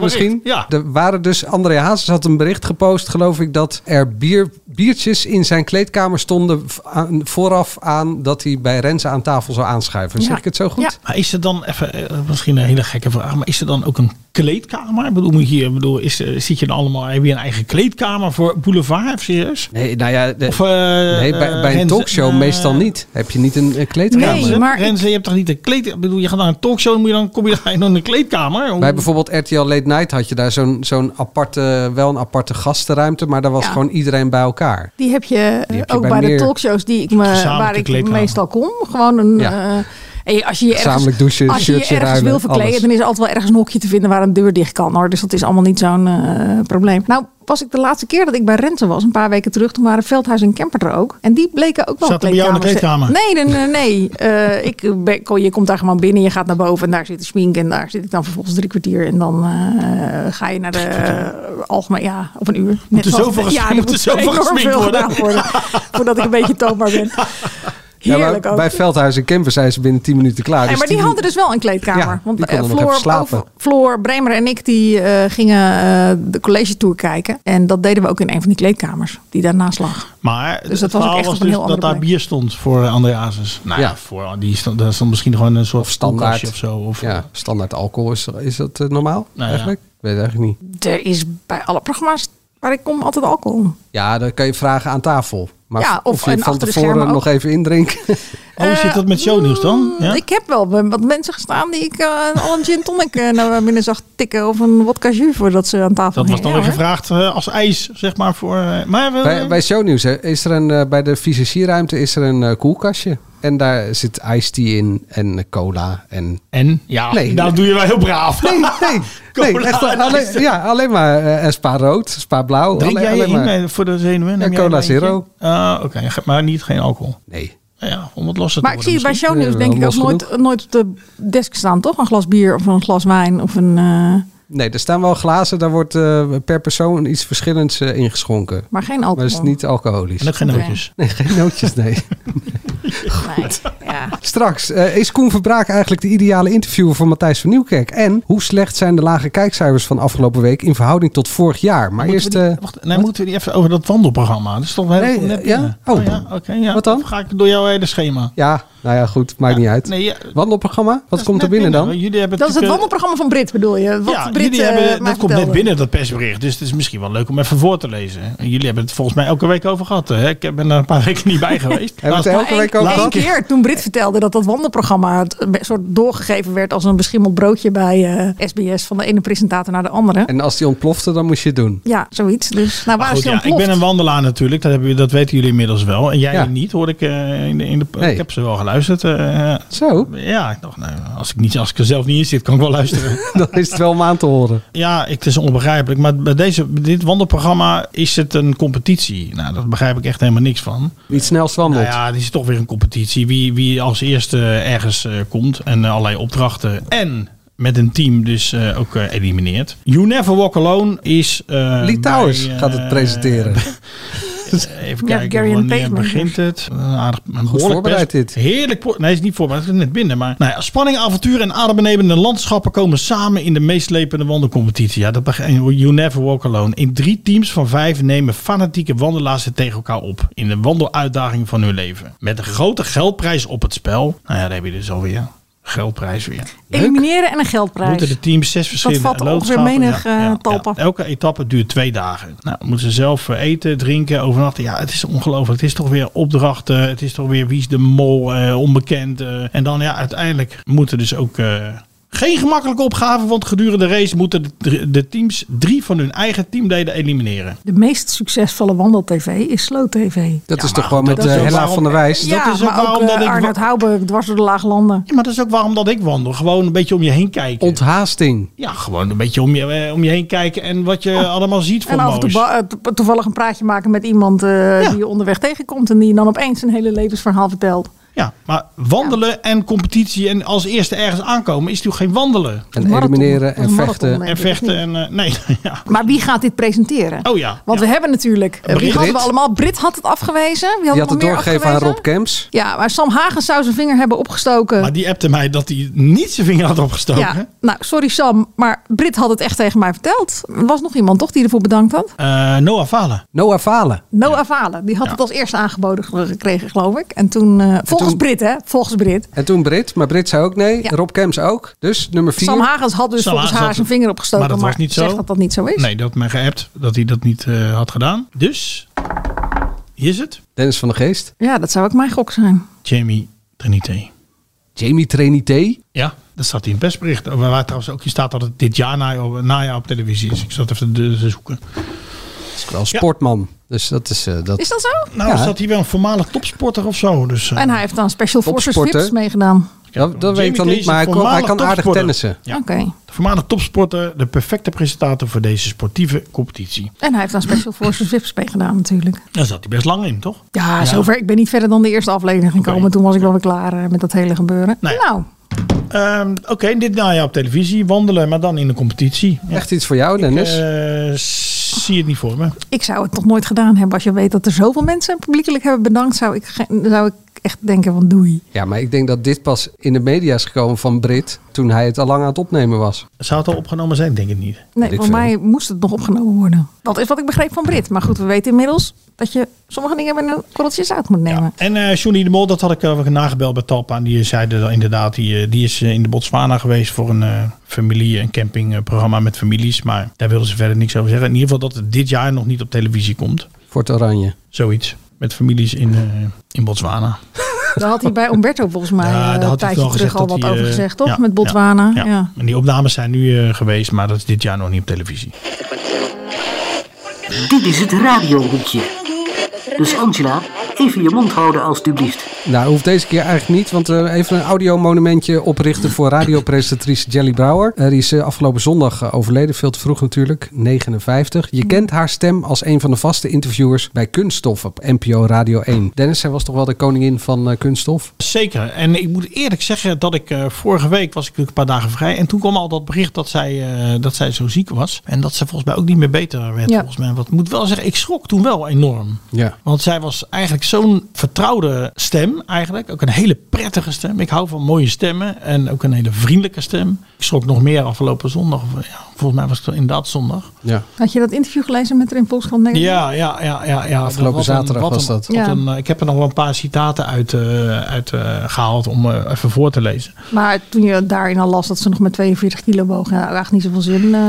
Speaker 3: bericht.
Speaker 4: misschien.
Speaker 3: Ja.
Speaker 4: Er waren dus, André Hazes had een bericht gepost, geloof ik, dat er bier, biertjes in zijn kleedkamer stonden v- aan- vooraf aan dat hij bij Rensen aan tafel zou aanschuiven.
Speaker 2: Ja.
Speaker 4: Zeg ik het zo goed?
Speaker 2: Ja.
Speaker 3: Maar is er dan even, eh, misschien een hele gekke vraag, maar is er dan ook een kleedkamer? Ik bedoel, moet je, ik bedoel is, eh, zit je dan allemaal, heb je een eigen kleedkamer voor Boulevard, of serieus?
Speaker 4: Nee, nou ja, de-
Speaker 3: Of, eh,
Speaker 4: nee, bij, bij een
Speaker 3: Renze-
Speaker 4: talkshow
Speaker 3: eh,
Speaker 4: meestal niet. Heb je niet een, een kleedkamer?
Speaker 2: Nee, maar ik-
Speaker 3: Renze, je hebt toch niet een kleedkamer? Ik bedoel, je gaat naar een talkshow, dan moet je dan, kom je dan in een kleedkamer? Hoe-
Speaker 4: Bij bijvoorbeeld RTL Late Night had je daar zo'n zo'n aparte, wel een aparte gastenruimte, maar daar was
Speaker 2: Ja.
Speaker 4: gewoon iedereen bij elkaar.
Speaker 2: Die heb je, eh,
Speaker 4: Die heb je
Speaker 2: ook
Speaker 4: bij
Speaker 2: bij,
Speaker 4: meer
Speaker 2: de talkshows die ik me,
Speaker 3: gezamenlijke
Speaker 2: waar ik
Speaker 3: kleedkamer.
Speaker 2: meestal kom. Gewoon een.
Speaker 4: Ja.
Speaker 2: eh, en je- als je je ergens,
Speaker 4: Gezamenlijk douchen,
Speaker 2: als je je
Speaker 4: shirtje
Speaker 2: ergens
Speaker 4: ruimen,
Speaker 2: wil verkleden,
Speaker 4: alles.
Speaker 2: dan is er altijd wel ergens een hokje te vinden waar een deur dicht kan. Hoor. Dus dat is allemaal niet zo'n eh, probleem. Nou, was ik de laatste keer dat ik bij Rente was, een paar weken terug, toen waren Veldhuis en Kemper er ook. En die bleken ook wel
Speaker 3: Zaten bij jou in de
Speaker 2: kleedkamers- Nee, nee, nee. nee. Eh, ik ben, kon- je komt daar gewoon binnen, je gaat naar boven en daar zit de schmink en daar zit ik dan vervolgens drie kwartier. En dan eh, ga je naar de eh, algemeen, ja, of een uur. Net
Speaker 3: er
Speaker 2: zoals-
Speaker 3: zoveel ges-
Speaker 2: ja, er
Speaker 3: moet er
Speaker 2: moet
Speaker 3: zoveel
Speaker 2: enorm
Speaker 3: gesminkt
Speaker 2: veel
Speaker 3: worden.
Speaker 2: gedaan worden. voordat ik een beetje toonbaar ben.
Speaker 4: Ja, maar
Speaker 2: Heerlijk ook.
Speaker 4: bij Veldhuis en Kemper zijn ze binnen 10 minuten klaar.
Speaker 2: Nee,
Speaker 4: dus
Speaker 2: maar die hadden dus wel een kleedkamer.
Speaker 4: Ja,
Speaker 2: want
Speaker 4: die
Speaker 2: eh,
Speaker 4: konden nog
Speaker 2: Floor,
Speaker 4: even slapen.
Speaker 2: over- Floor, Bremer en ik die, eh, gingen eh, de college tour kijken. En dat deden we ook in een van die kleedkamers die daarnaast lag.
Speaker 3: Maar
Speaker 2: dat
Speaker 3: het
Speaker 2: was ook
Speaker 3: verhaal
Speaker 2: echt
Speaker 3: was
Speaker 2: op een
Speaker 3: dus
Speaker 2: heel
Speaker 3: dat
Speaker 2: andere
Speaker 3: daar
Speaker 2: plek.
Speaker 3: bier stond voor eh, André Hazes. Nou ja,
Speaker 4: Ja.
Speaker 3: voor, die stond, daar stond misschien gewoon een soort
Speaker 4: Of standaard.
Speaker 3: koelkastje of zo. Of, Nou
Speaker 4: Ja, standaard alcohol is, is dat eh, normaal
Speaker 3: ja.
Speaker 4: eigenlijk? Ik weet het eigenlijk niet.
Speaker 2: Er is bij alle programma's waar ik kom altijd alcohol.
Speaker 4: Ja, dan kan je vragen aan tafel. Maar
Speaker 2: Ja,
Speaker 4: of,
Speaker 2: of
Speaker 4: je
Speaker 2: en
Speaker 4: van
Speaker 2: achter de
Speaker 4: tevoren
Speaker 2: schermen
Speaker 4: nog even indrinken.
Speaker 3: Oh, hoe zit dat met shownieuws dan? Ja?
Speaker 2: Eh, mm, Ik heb wel wat mensen gestaan die ik eh, al een gin tonic eh, naar binnen zag tikken. Of een wodka jus voordat ze aan tafel
Speaker 3: Dat was
Speaker 2: gingen.
Speaker 3: dan
Speaker 2: Ja,
Speaker 3: weer
Speaker 2: hoor.
Speaker 3: gevraagd eh, als ijs, zeg maar, voor... eh, maar we,
Speaker 4: bij, bij shownieuws hè, is er een, eh, bij de fysicierruimte is er een eh, koelkastje. En daar zit iced tea in en eh, cola. En...
Speaker 3: En? Ja,
Speaker 4: Nee.
Speaker 3: dat doe je wel heel braaf.
Speaker 4: Nee, nee. nee
Speaker 3: Cola
Speaker 4: echt,
Speaker 3: en iced
Speaker 4: alleen,
Speaker 3: tea.
Speaker 4: ja, alleen maar eh, spa rood, spa blauw.
Speaker 3: Drink
Speaker 4: alleen,
Speaker 3: jij
Speaker 4: alleen
Speaker 3: je in
Speaker 4: maar-
Speaker 3: eh, voor de zenuwen? Neem
Speaker 4: Ja,
Speaker 3: jij
Speaker 4: cola
Speaker 3: een wijntje?
Speaker 4: zero.
Speaker 3: Ah, oké. Ge- Maar niet geen alcohol.
Speaker 4: Nee.
Speaker 3: Nou Ja, om het losser
Speaker 2: Maar
Speaker 3: te
Speaker 2: ik zie
Speaker 3: worden
Speaker 2: het
Speaker 3: misschien.
Speaker 2: bij shownieuws
Speaker 4: Ja,
Speaker 2: denk ik ook
Speaker 4: los
Speaker 2: nooit, nooit op de desk staan, toch? Een glas bier of een glas wijn of een... eh,
Speaker 4: nee, er staan wel glazen. Daar wordt eh, per persoon iets verschillends eh, ingeschonken.
Speaker 2: maar geen alcohol.
Speaker 4: Maar het is niet alcoholisch.
Speaker 3: En ook geen
Speaker 2: Oké.
Speaker 3: nootjes.
Speaker 4: Nee, geen nootjes, nee.
Speaker 2: Nee. Ja.
Speaker 4: Straks, eh, is Koen Verbraak eigenlijk de ideale interviewer voor Matthijs van Nieuwkerk? En hoe slecht zijn de lage kijkcijfers van afgelopen week in verhouding tot vorig jaar? Maar
Speaker 3: Moeten
Speaker 4: eerst,
Speaker 3: we die-
Speaker 4: eh,
Speaker 3: wacht, nee, moeten we die even over dat wandelprogramma? Dat is toch wel heel
Speaker 4: Nee,
Speaker 3: goed net
Speaker 4: ja?
Speaker 3: binnen.
Speaker 4: Oh.
Speaker 3: ja, oké, ja.
Speaker 4: Wat dan?
Speaker 3: Of ga ik door jouw hele schema?
Speaker 4: ja, nou ja, goed, maakt niet uit.
Speaker 3: Nee, ja, dat
Speaker 4: Wandelprogramma, wat
Speaker 3: is
Speaker 4: komt er
Speaker 3: net
Speaker 4: binnen, dan?
Speaker 3: want Jullie hebben
Speaker 2: Dat is het
Speaker 3: natuurlijk, eh,
Speaker 2: wandelprogramma van Brit, bedoel je? Wat
Speaker 3: ja,
Speaker 2: Brit,
Speaker 3: jullie
Speaker 2: eh,
Speaker 3: hebben,
Speaker 2: mij
Speaker 3: dat komt net
Speaker 2: vertelde.
Speaker 3: binnen, dat persbericht. Dus het is misschien wel leuk om even voor te lezen. Jullie hebben het volgens mij elke week over gehad. Hè? Ik ben er een paar weken niet bij geweest.
Speaker 4: Hebben we
Speaker 3: Laatst-
Speaker 4: het
Speaker 2: Maar
Speaker 4: elke week over
Speaker 2: één- één
Speaker 4: gehad?
Speaker 2: keer toen Brit vertelde dat dat wandelprogramma het een soort doorgegeven werd als een beschimmeld broodje bij eh, SBS van de ene presentator naar de andere.
Speaker 4: En als die ontplofte, dan moest je het doen.
Speaker 2: Ja, zoiets. Dus nou,
Speaker 3: Maar
Speaker 2: waar
Speaker 3: goed,
Speaker 2: is die
Speaker 3: ja, ik
Speaker 2: ontploft?
Speaker 3: ben een wandelaar natuurlijk, dat, hebben, dat weten jullie inmiddels wel. En jij
Speaker 4: Ja.
Speaker 3: niet, hoor ik eh, in de, in de,
Speaker 4: Nee.
Speaker 3: Ik heb ze wel geluisterd. eh,
Speaker 4: Zo,
Speaker 3: ja, ik dacht, nou, als, ik niet, als ik er zelf niet in zit, kan ik wel luisteren.
Speaker 4: dan is het wel om aan te horen.
Speaker 3: ja, ik- het is onbegrijpelijk. Maar bij deze, bij dit wandelprogramma is het een competitie. Nou, daar begrijp ik echt helemaal niks van.
Speaker 4: Iets snels
Speaker 3: Nou
Speaker 4: wandelt.
Speaker 3: ja, het is toch weer een competitie. Wie, wie als eerste ergens eh, komt en eh, allerlei opdrachten. En met een team dus eh, ook eh, elimineert. You Never Walk Alone is... eh,
Speaker 4: Lee Towers
Speaker 3: bij, eh,
Speaker 4: gaat het presenteren.
Speaker 3: Even
Speaker 2: Ja,
Speaker 3: kijken,
Speaker 2: Gary and the
Speaker 3: wanneer
Speaker 2: Pavement.
Speaker 3: begint het? Een aardig, een behoorlijk
Speaker 4: voorbereid
Speaker 3: best-
Speaker 4: dit.
Speaker 3: Heerlijk. pro- Nee, is niet voorbereid. Het is net binnen. Maar nou ja, spanning, avontuur en adembenemende landschappen komen samen in de meeslepende wandelcompetitie. Ja, dat beg- en You never walk alone. In drie teams van vijf nemen fanatieke wandelaars het tegen elkaar op. In de wandeluitdaging van hun leven. Met een grote geldprijs op het spel. Nou ja, daar heb je dus alweer. Geldprijs weer.
Speaker 2: Elimineren en een geldprijs.
Speaker 3: Moeten de teams zes verschillende
Speaker 2: vat ongeveer
Speaker 3: loodstappen-
Speaker 2: menig, eh, talpa.
Speaker 3: Elke etappe duurt twee dagen. Nou, moeten ze zelf eh, eten, drinken, overnachten. Ja, het is ongelooflijk. Het is toch weer opdrachten. Het is toch weer wie is de mol, eh, onbekend. eh. en dan ja, uiteindelijk moeten dus ook eh, Geen gemakkelijke opgave, want gedurende de race moeten de- de teams drie van hun eigen teamleden elimineren.
Speaker 2: De meest succesvolle wandeltv is Slow TV.
Speaker 4: Dat is toch gewoon
Speaker 3: goed,
Speaker 4: met
Speaker 3: dat is
Speaker 4: eh,
Speaker 3: ook
Speaker 4: Hella
Speaker 3: waarom-
Speaker 4: van der Wijs.
Speaker 3: Dat is ook
Speaker 2: maar
Speaker 3: waarom
Speaker 2: ook, eh,
Speaker 3: dat ik wa-
Speaker 2: Arnoud Houben dwars door de Laaglanden.
Speaker 3: Ja, maar dat is ook waarom dat ik wandel. Gewoon een beetje om je heen kijken.
Speaker 4: Onthaasting.
Speaker 3: ja, gewoon een beetje om je, eh, om je heen kijken en wat je allemaal ziet voor
Speaker 2: Oh. En af en toe
Speaker 3: moois.
Speaker 2: ba- eh, to- toevallig een praatje maken met iemand eh,
Speaker 3: Ja.
Speaker 2: die je onderweg tegenkomt. En die je dan opeens een hele levensverhaal vertelt.
Speaker 3: Ja, maar wandelen en competitie en als eerste ergens aankomen is natuurlijk geen wandelen.
Speaker 4: En
Speaker 2: Een marathon.
Speaker 4: elimineren en
Speaker 2: Een marathon,
Speaker 4: vechten.
Speaker 2: nee.
Speaker 3: En
Speaker 2: dat is
Speaker 3: vechten en... eh, nee, ja.
Speaker 2: Maar wie gaat dit presenteren?
Speaker 3: Oh ja.
Speaker 2: Want
Speaker 3: ja.
Speaker 2: we hebben natuurlijk... eh, Wie
Speaker 4: Brit.
Speaker 2: hadden we allemaal? Brit had het afgewezen. Wie had,
Speaker 4: Die had het
Speaker 2: nog meer
Speaker 4: doorgegeven aan
Speaker 2: afgewezen?
Speaker 4: Rob Kemps.
Speaker 2: Ja, maar Sam Hagen zou zijn vinger hebben opgestoken.
Speaker 3: Maar die appte mij dat hij niet zijn vinger had opgestoken.
Speaker 2: ja, nou, sorry Sam, maar Brit had het echt tegen mij verteld. Er was nog iemand, toch, die ervoor bedankt had?
Speaker 3: Eh, Noah Falen.
Speaker 4: Noah Falen.
Speaker 2: Noah Valen, die had
Speaker 3: Ja.
Speaker 2: het als eerste aangeboden ge- gekregen, geloof ik. En toen, eh, volgens
Speaker 4: toen-
Speaker 2: Brit, hè? Volgens Brit.
Speaker 4: En toen Brit, maar Brit zei ook nee.
Speaker 2: Ja.
Speaker 4: Rob Kemps ook. Dus nummer vier.
Speaker 2: Sam Hagens had dus
Speaker 3: Sam
Speaker 2: volgens
Speaker 3: Hagens
Speaker 2: haar
Speaker 3: had-
Speaker 2: zijn vinger opgestoken,
Speaker 3: maar
Speaker 2: maar,
Speaker 3: dat was niet zo.
Speaker 2: zegt dat dat niet zo is.
Speaker 3: Nee, dat had mij geappt dat hij dat niet eh, had gedaan. Dus, hier is het.
Speaker 4: Dennis van de Geest.
Speaker 2: Ja, dat zou ook mijn gok zijn.
Speaker 3: Jamie Trinité.
Speaker 4: Jamie Trinité.
Speaker 3: Ja, dat staat in het persbericht. Waar waar trouwens ook in staat dat het dit jaar na, najaar op televisie is. Ik zat even te te zoeken.
Speaker 4: Dat is wel sportman. Dus dat is... eh, dat...
Speaker 2: Is dat zo?
Speaker 3: Nou,
Speaker 4: Ja.
Speaker 3: is dat hij wel een voormalig topsporter of zo? Dus, eh,
Speaker 2: En hij heeft dan Special Forces
Speaker 4: Topsporter.
Speaker 2: VIPs meegedaan.
Speaker 4: dat dat weet ik dan
Speaker 3: Jamie
Speaker 4: niet, maar hij
Speaker 3: Case is
Speaker 4: kan, hij
Speaker 3: voormalig
Speaker 4: kan aardig
Speaker 3: topsporter.
Speaker 4: tennissen.
Speaker 3: Ja.
Speaker 2: Oké.
Speaker 3: De voormalig topsporter, de perfecte presentator voor deze sportieve competitie.
Speaker 2: En hij heeft dan Special Forces VIPs meegedaan natuurlijk.
Speaker 3: Daar zat hij best lang in, toch?
Speaker 2: Ja, zover. Ik ben niet verder dan de eerste aflevering gekomen. Toen was ik wel weer klaar eh, met dat hele gebeuren.
Speaker 3: Nou ja.
Speaker 2: Nou,
Speaker 3: Ehm, Oké, dit najaar op televisie wandelen, maar dan in de competitie. Ja,
Speaker 4: Echt iets voor jou, Dennis.
Speaker 3: eh, zie het niet voor me.
Speaker 2: ik zou het nog nooit gedaan hebben. Als je weet dat er zoveel mensen publiekelijk hebben bedankt, zou ik, ge- zou ik echt denken van doei.
Speaker 4: Ja, maar ik denk dat dit pas in de media is gekomen van Brit toen hij het al lang aan het opnemen was.
Speaker 3: Zou het al opgenomen zijn? Denk ik niet.
Speaker 2: Nee,
Speaker 4: ik
Speaker 2: voor
Speaker 4: veel.
Speaker 2: mij moest het nog opgenomen worden. Dat is wat ik begreep van Brit. Maar goed, we weten inmiddels dat je sommige dingen met een korreltje zout moet nemen.
Speaker 3: En eh Johnny de Mol, dat had ik eh, nagebeld bij Talpa. En die zeiden dat inderdaad, die, eh, die is eh, in de Botswana geweest voor een eh, familie- en campingprogramma met families. Maar daar wilden ze verder niks over zeggen. In ieder geval dat het dit jaar nog niet op televisie komt.
Speaker 4: Voor het oranje.
Speaker 3: Zoiets. Met families in, eh, in Botswana.
Speaker 2: Daar had hij bij Umberto volgens mij
Speaker 3: Ja,
Speaker 2: eh,
Speaker 3: daar
Speaker 2: een
Speaker 3: had hij
Speaker 2: tijdje
Speaker 3: wel gezegd
Speaker 2: terug al
Speaker 3: dat hij,
Speaker 2: wat over
Speaker 3: eh,
Speaker 2: gezegd, toch?
Speaker 3: ja,
Speaker 2: met Botswana. Ja,
Speaker 3: Ja. En die opnames zijn nu eh, geweest, maar dat is dit jaar nog niet op televisie.
Speaker 12: Dit is het radiohoekje. Dus Angela, even je mond houden alstublieft.
Speaker 4: Nou, hoeft deze keer eigenlijk niet, want eh, even een audiomonumentje oprichten voor radiopresentatrice Jelly Brouwer. Eh, die is eh, afgelopen zondag eh, overleden, veel te vroeg natuurlijk, 59. Je kent haar stem als een van de vaste interviewers bij Kunststof op NPO Radio 1. Dennis, zij was toch wel de koningin van eh, Kunststof?
Speaker 3: Zeker. En ik moet eerlijk zeggen dat ik eh, vorige week was ik natuurlijk een paar dagen vrij. En toen kwam al dat bericht dat zij, eh, dat zij zo ziek was. En dat ze volgens mij ook niet meer beter werd.
Speaker 2: Ja.
Speaker 3: Volgens mij. Wat ik moet wel zeggen, ik schrok toen wel enorm.
Speaker 4: Ja.
Speaker 3: Want zij was eigenlijk zo'n vertrouwde stem eigenlijk. Ook een hele prettige stem. Ik hou van mooie stemmen en ook een hele vriendelijke stem. Ik schrok nog meer afgelopen zondag. Of, ja, volgens mij was het inderdaad zondag.
Speaker 4: ja.
Speaker 2: Had je dat interview gelezen met haar in Volkskrant Nederland?
Speaker 3: Ja, ja, ja, ja. ja.
Speaker 4: Afgelopen
Speaker 3: Wat
Speaker 4: zaterdag
Speaker 3: wat
Speaker 4: was dat.
Speaker 3: wat
Speaker 2: Ja.
Speaker 3: een, eh, ik heb er nog wel een paar citaten uit, eh, uit eh, gehaald om eh, even voor te lezen.
Speaker 2: Maar toen je daarin al las dat ze nog met 42 kilo woog, nou, eigenlijk niet zoveel zin eh,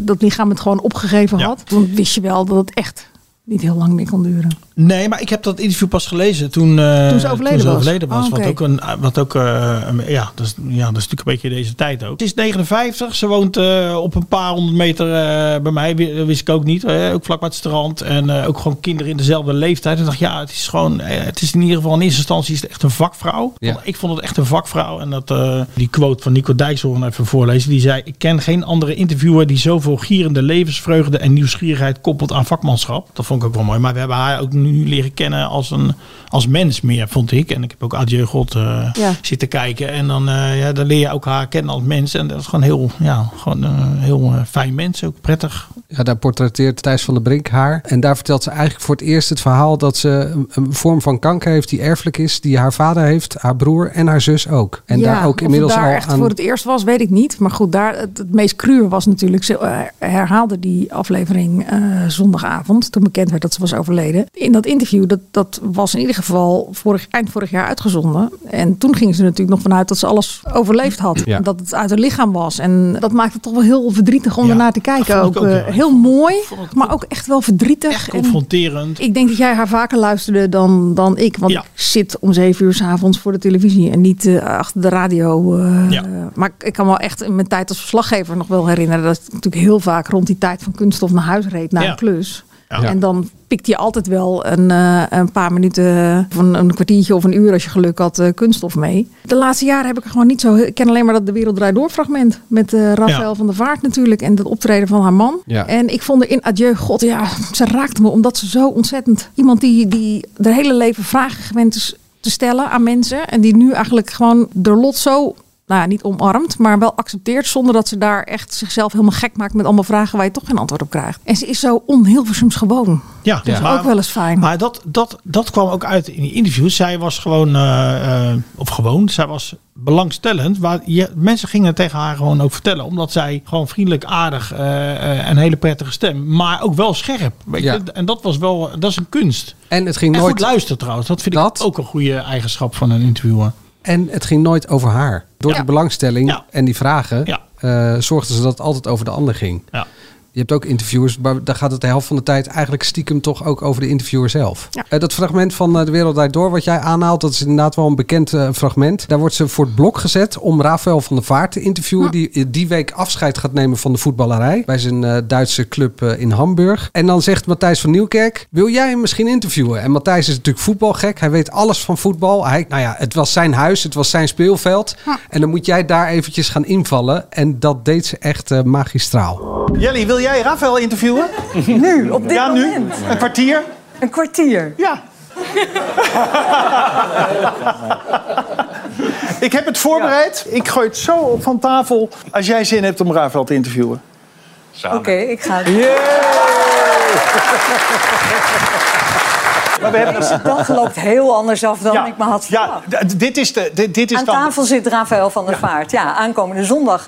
Speaker 2: dat lichaam het gewoon opgegeven
Speaker 3: Ja.
Speaker 2: had. Want wist je wel dat het echt niet heel lang meer kon duren.
Speaker 3: Nee, maar ik heb dat interview pas gelezen toen, eh,
Speaker 2: Toen ze overleden
Speaker 3: toen
Speaker 2: was.
Speaker 3: overleden was.
Speaker 2: Oh, oké.
Speaker 3: Wat ook, een, wat ook eh, een- ja, dat is, ja, dat is natuurlijk een beetje deze tijd ook. Ze is 59, ze woont eh, op een paar honderd meter eh, bij mij, wi- dat wist ik ook niet. eh, ook vlak bij het strand en eh, ook gewoon kinderen in dezelfde leeftijd. En dacht, ja, het is gewoon, eh, het is in ieder geval in eerste instantie is het echt een vakvrouw.
Speaker 4: Ja.
Speaker 3: Want Ik vond het echt een vakvrouw. En dat, eh, die quote van Nico Dijkshoorn even voorlezen. Die zei, ik ken geen andere interviewer die zoveel gierende levensvreugde en nieuwsgierigheid koppelt aan vakmanschap. Dat vond ik ook wel mooi. Maar we hebben haar ook nu leren kennen als, een, als mens meer, vond ik. En ik heb ook Adieu God eh,
Speaker 2: Ja.
Speaker 3: zitten kijken. En dan, eh, ja, dan leer je ook haar kennen als mens. En dat is gewoon heel, ja, gewoon, eh, heel eh, fijn mens. Ook prettig.
Speaker 4: Ja, daar portretteert Thijs van der Brink haar. En daar vertelt ze eigenlijk voor het eerst het verhaal dat ze een, een vorm van kanker heeft die erfelijk is, die haar vader heeft, haar broer en haar zus ook. En
Speaker 2: Ja,
Speaker 4: daar
Speaker 2: of
Speaker 4: ook
Speaker 2: het
Speaker 4: inmiddels
Speaker 2: daar
Speaker 4: al
Speaker 2: echt
Speaker 4: aan.
Speaker 2: voor het eerst was, weet ik niet. Maar goed, daar, het, het meest cruwe was natuurlijk... Ze eh, herhaalde die aflevering eh, zondagavond... toen bekend werd dat ze was overleden. In dat interview, dat, dat was in ieder geval vorig, eind vorig jaar uitgezonden. En toen gingen ze natuurlijk nog vanuit dat ze alles overleefd had.
Speaker 4: Ja.
Speaker 2: Dat het uit haar lichaam was. En dat maakte het toch wel heel verdrietig om
Speaker 3: Ja,
Speaker 2: ernaar te
Speaker 3: dat
Speaker 2: kijken.
Speaker 3: vond
Speaker 2: Ook,
Speaker 3: ik ook,
Speaker 2: eh,
Speaker 3: ja.
Speaker 2: heel heel mooi, maar ook echt wel verdrietig. Echt
Speaker 3: confronterend.
Speaker 2: ik denk dat jij haar vaker luisterde dan, dan ik. Want ik zit om zeven uur s'avonds voor de televisie en niet eh, achter de radio. eh, Maar ik- ik kan wel echt in mijn tijd als verslaggever nog wel herinneren... dat ik natuurlijk heel vaak rond die tijd van kunststof naar huis reed na
Speaker 3: Ja.
Speaker 2: een klus.
Speaker 3: Ja.
Speaker 2: En dan pikt hij altijd wel een, eh, een paar minuten, van een kwartiertje of een uur als je geluk had, eh, kunststof mee. De laatste jaren heb ik er gewoon niet zo. heel- Ik ken alleen maar dat De Wereld Draait Door fragment. Met eh Rafael
Speaker 13: Ja.
Speaker 2: van der Vaart natuurlijk en het optreden van haar man.
Speaker 13: Ja.
Speaker 2: En ik vond er in Adieu, god ja, ze raakte me omdat ze zo ontzettend. Iemand die, die haar hele leven vragen gewend is te stellen aan mensen. En die nu eigenlijk gewoon door lot zo, nou ja, niet omarmt, maar wel accepteert. Zonder dat ze daar echt zichzelf helemaal gek maakt met allemaal vragen waar je toch geen antwoord op krijgt. En ze is zo onhilversoms gewoon.
Speaker 3: Ja,
Speaker 2: Dat is ook wel eens fijn.
Speaker 3: Maar dat, dat, dat kwam ook uit in die interviews. Zij was gewoon, eh, eh, of gewoon, zij was belangstellend. Waar je, mensen gingen het tegen haar gewoon ook vertellen. Omdat zij gewoon vriendelijk, aardig eh, eh, en hele prettige stem. Maar ook wel scherp. Weet
Speaker 4: Ja.
Speaker 3: je? En dat was wel, dat is een kunst.
Speaker 4: En het ging
Speaker 3: en
Speaker 4: nooit-
Speaker 3: goed luisteren trouwens. Dat vind ik ook een goede eigenschap van een interviewer.
Speaker 4: En het ging nooit over haar. Door die belangstelling en die vragen eh, zorgden ze dat het altijd over de ander ging. Je hebt ook interviewers, maar daar gaat het de helft van de tijd eigenlijk stiekem toch ook over de interviewer zelf. Eh, dat fragment van eh, De Wereld Draait Door, wat jij aanhaalt, dat is inderdaad wel een bekend eh, fragment. Daar wordt ze voor het blok gezet om Rafael van der Vaart te interviewen, die eh, die week afscheid gaat nemen van de voetballerij bij zijn eh, Duitse club eh, in Hamburg. En dan zegt Matthijs van Nieuwkerk, wil jij hem misschien interviewen? En Matthijs is natuurlijk voetbalgek, hij weet alles van voetbal. Hij, nou ja, het was zijn huis, het was zijn speelveld. En dan moet jij daar eventjes gaan invallen. En dat deed ze echt eh, magistraal.
Speaker 14: Jelly, wil jij Rafael interviewen?
Speaker 7: Nu, op dit
Speaker 14: ja,
Speaker 4: Oh,
Speaker 7: moment.
Speaker 14: nu. Een kwartier?
Speaker 7: Een kwartier?
Speaker 14: Ja. Ik heb het voorbereid. Ik gooi het zo op van tafel als jij zin hebt om Rafael te interviewen.
Speaker 7: Oké, ik ga het.
Speaker 14: Maar we hebben-
Speaker 7: Deze dag loopt heel anders af dan ik me had verwacht.
Speaker 14: D- d- dit is de... Dit, dit is
Speaker 7: Aan
Speaker 14: dan...
Speaker 7: tafel zit Rafael van der Vaart. Ja, aankomende zondag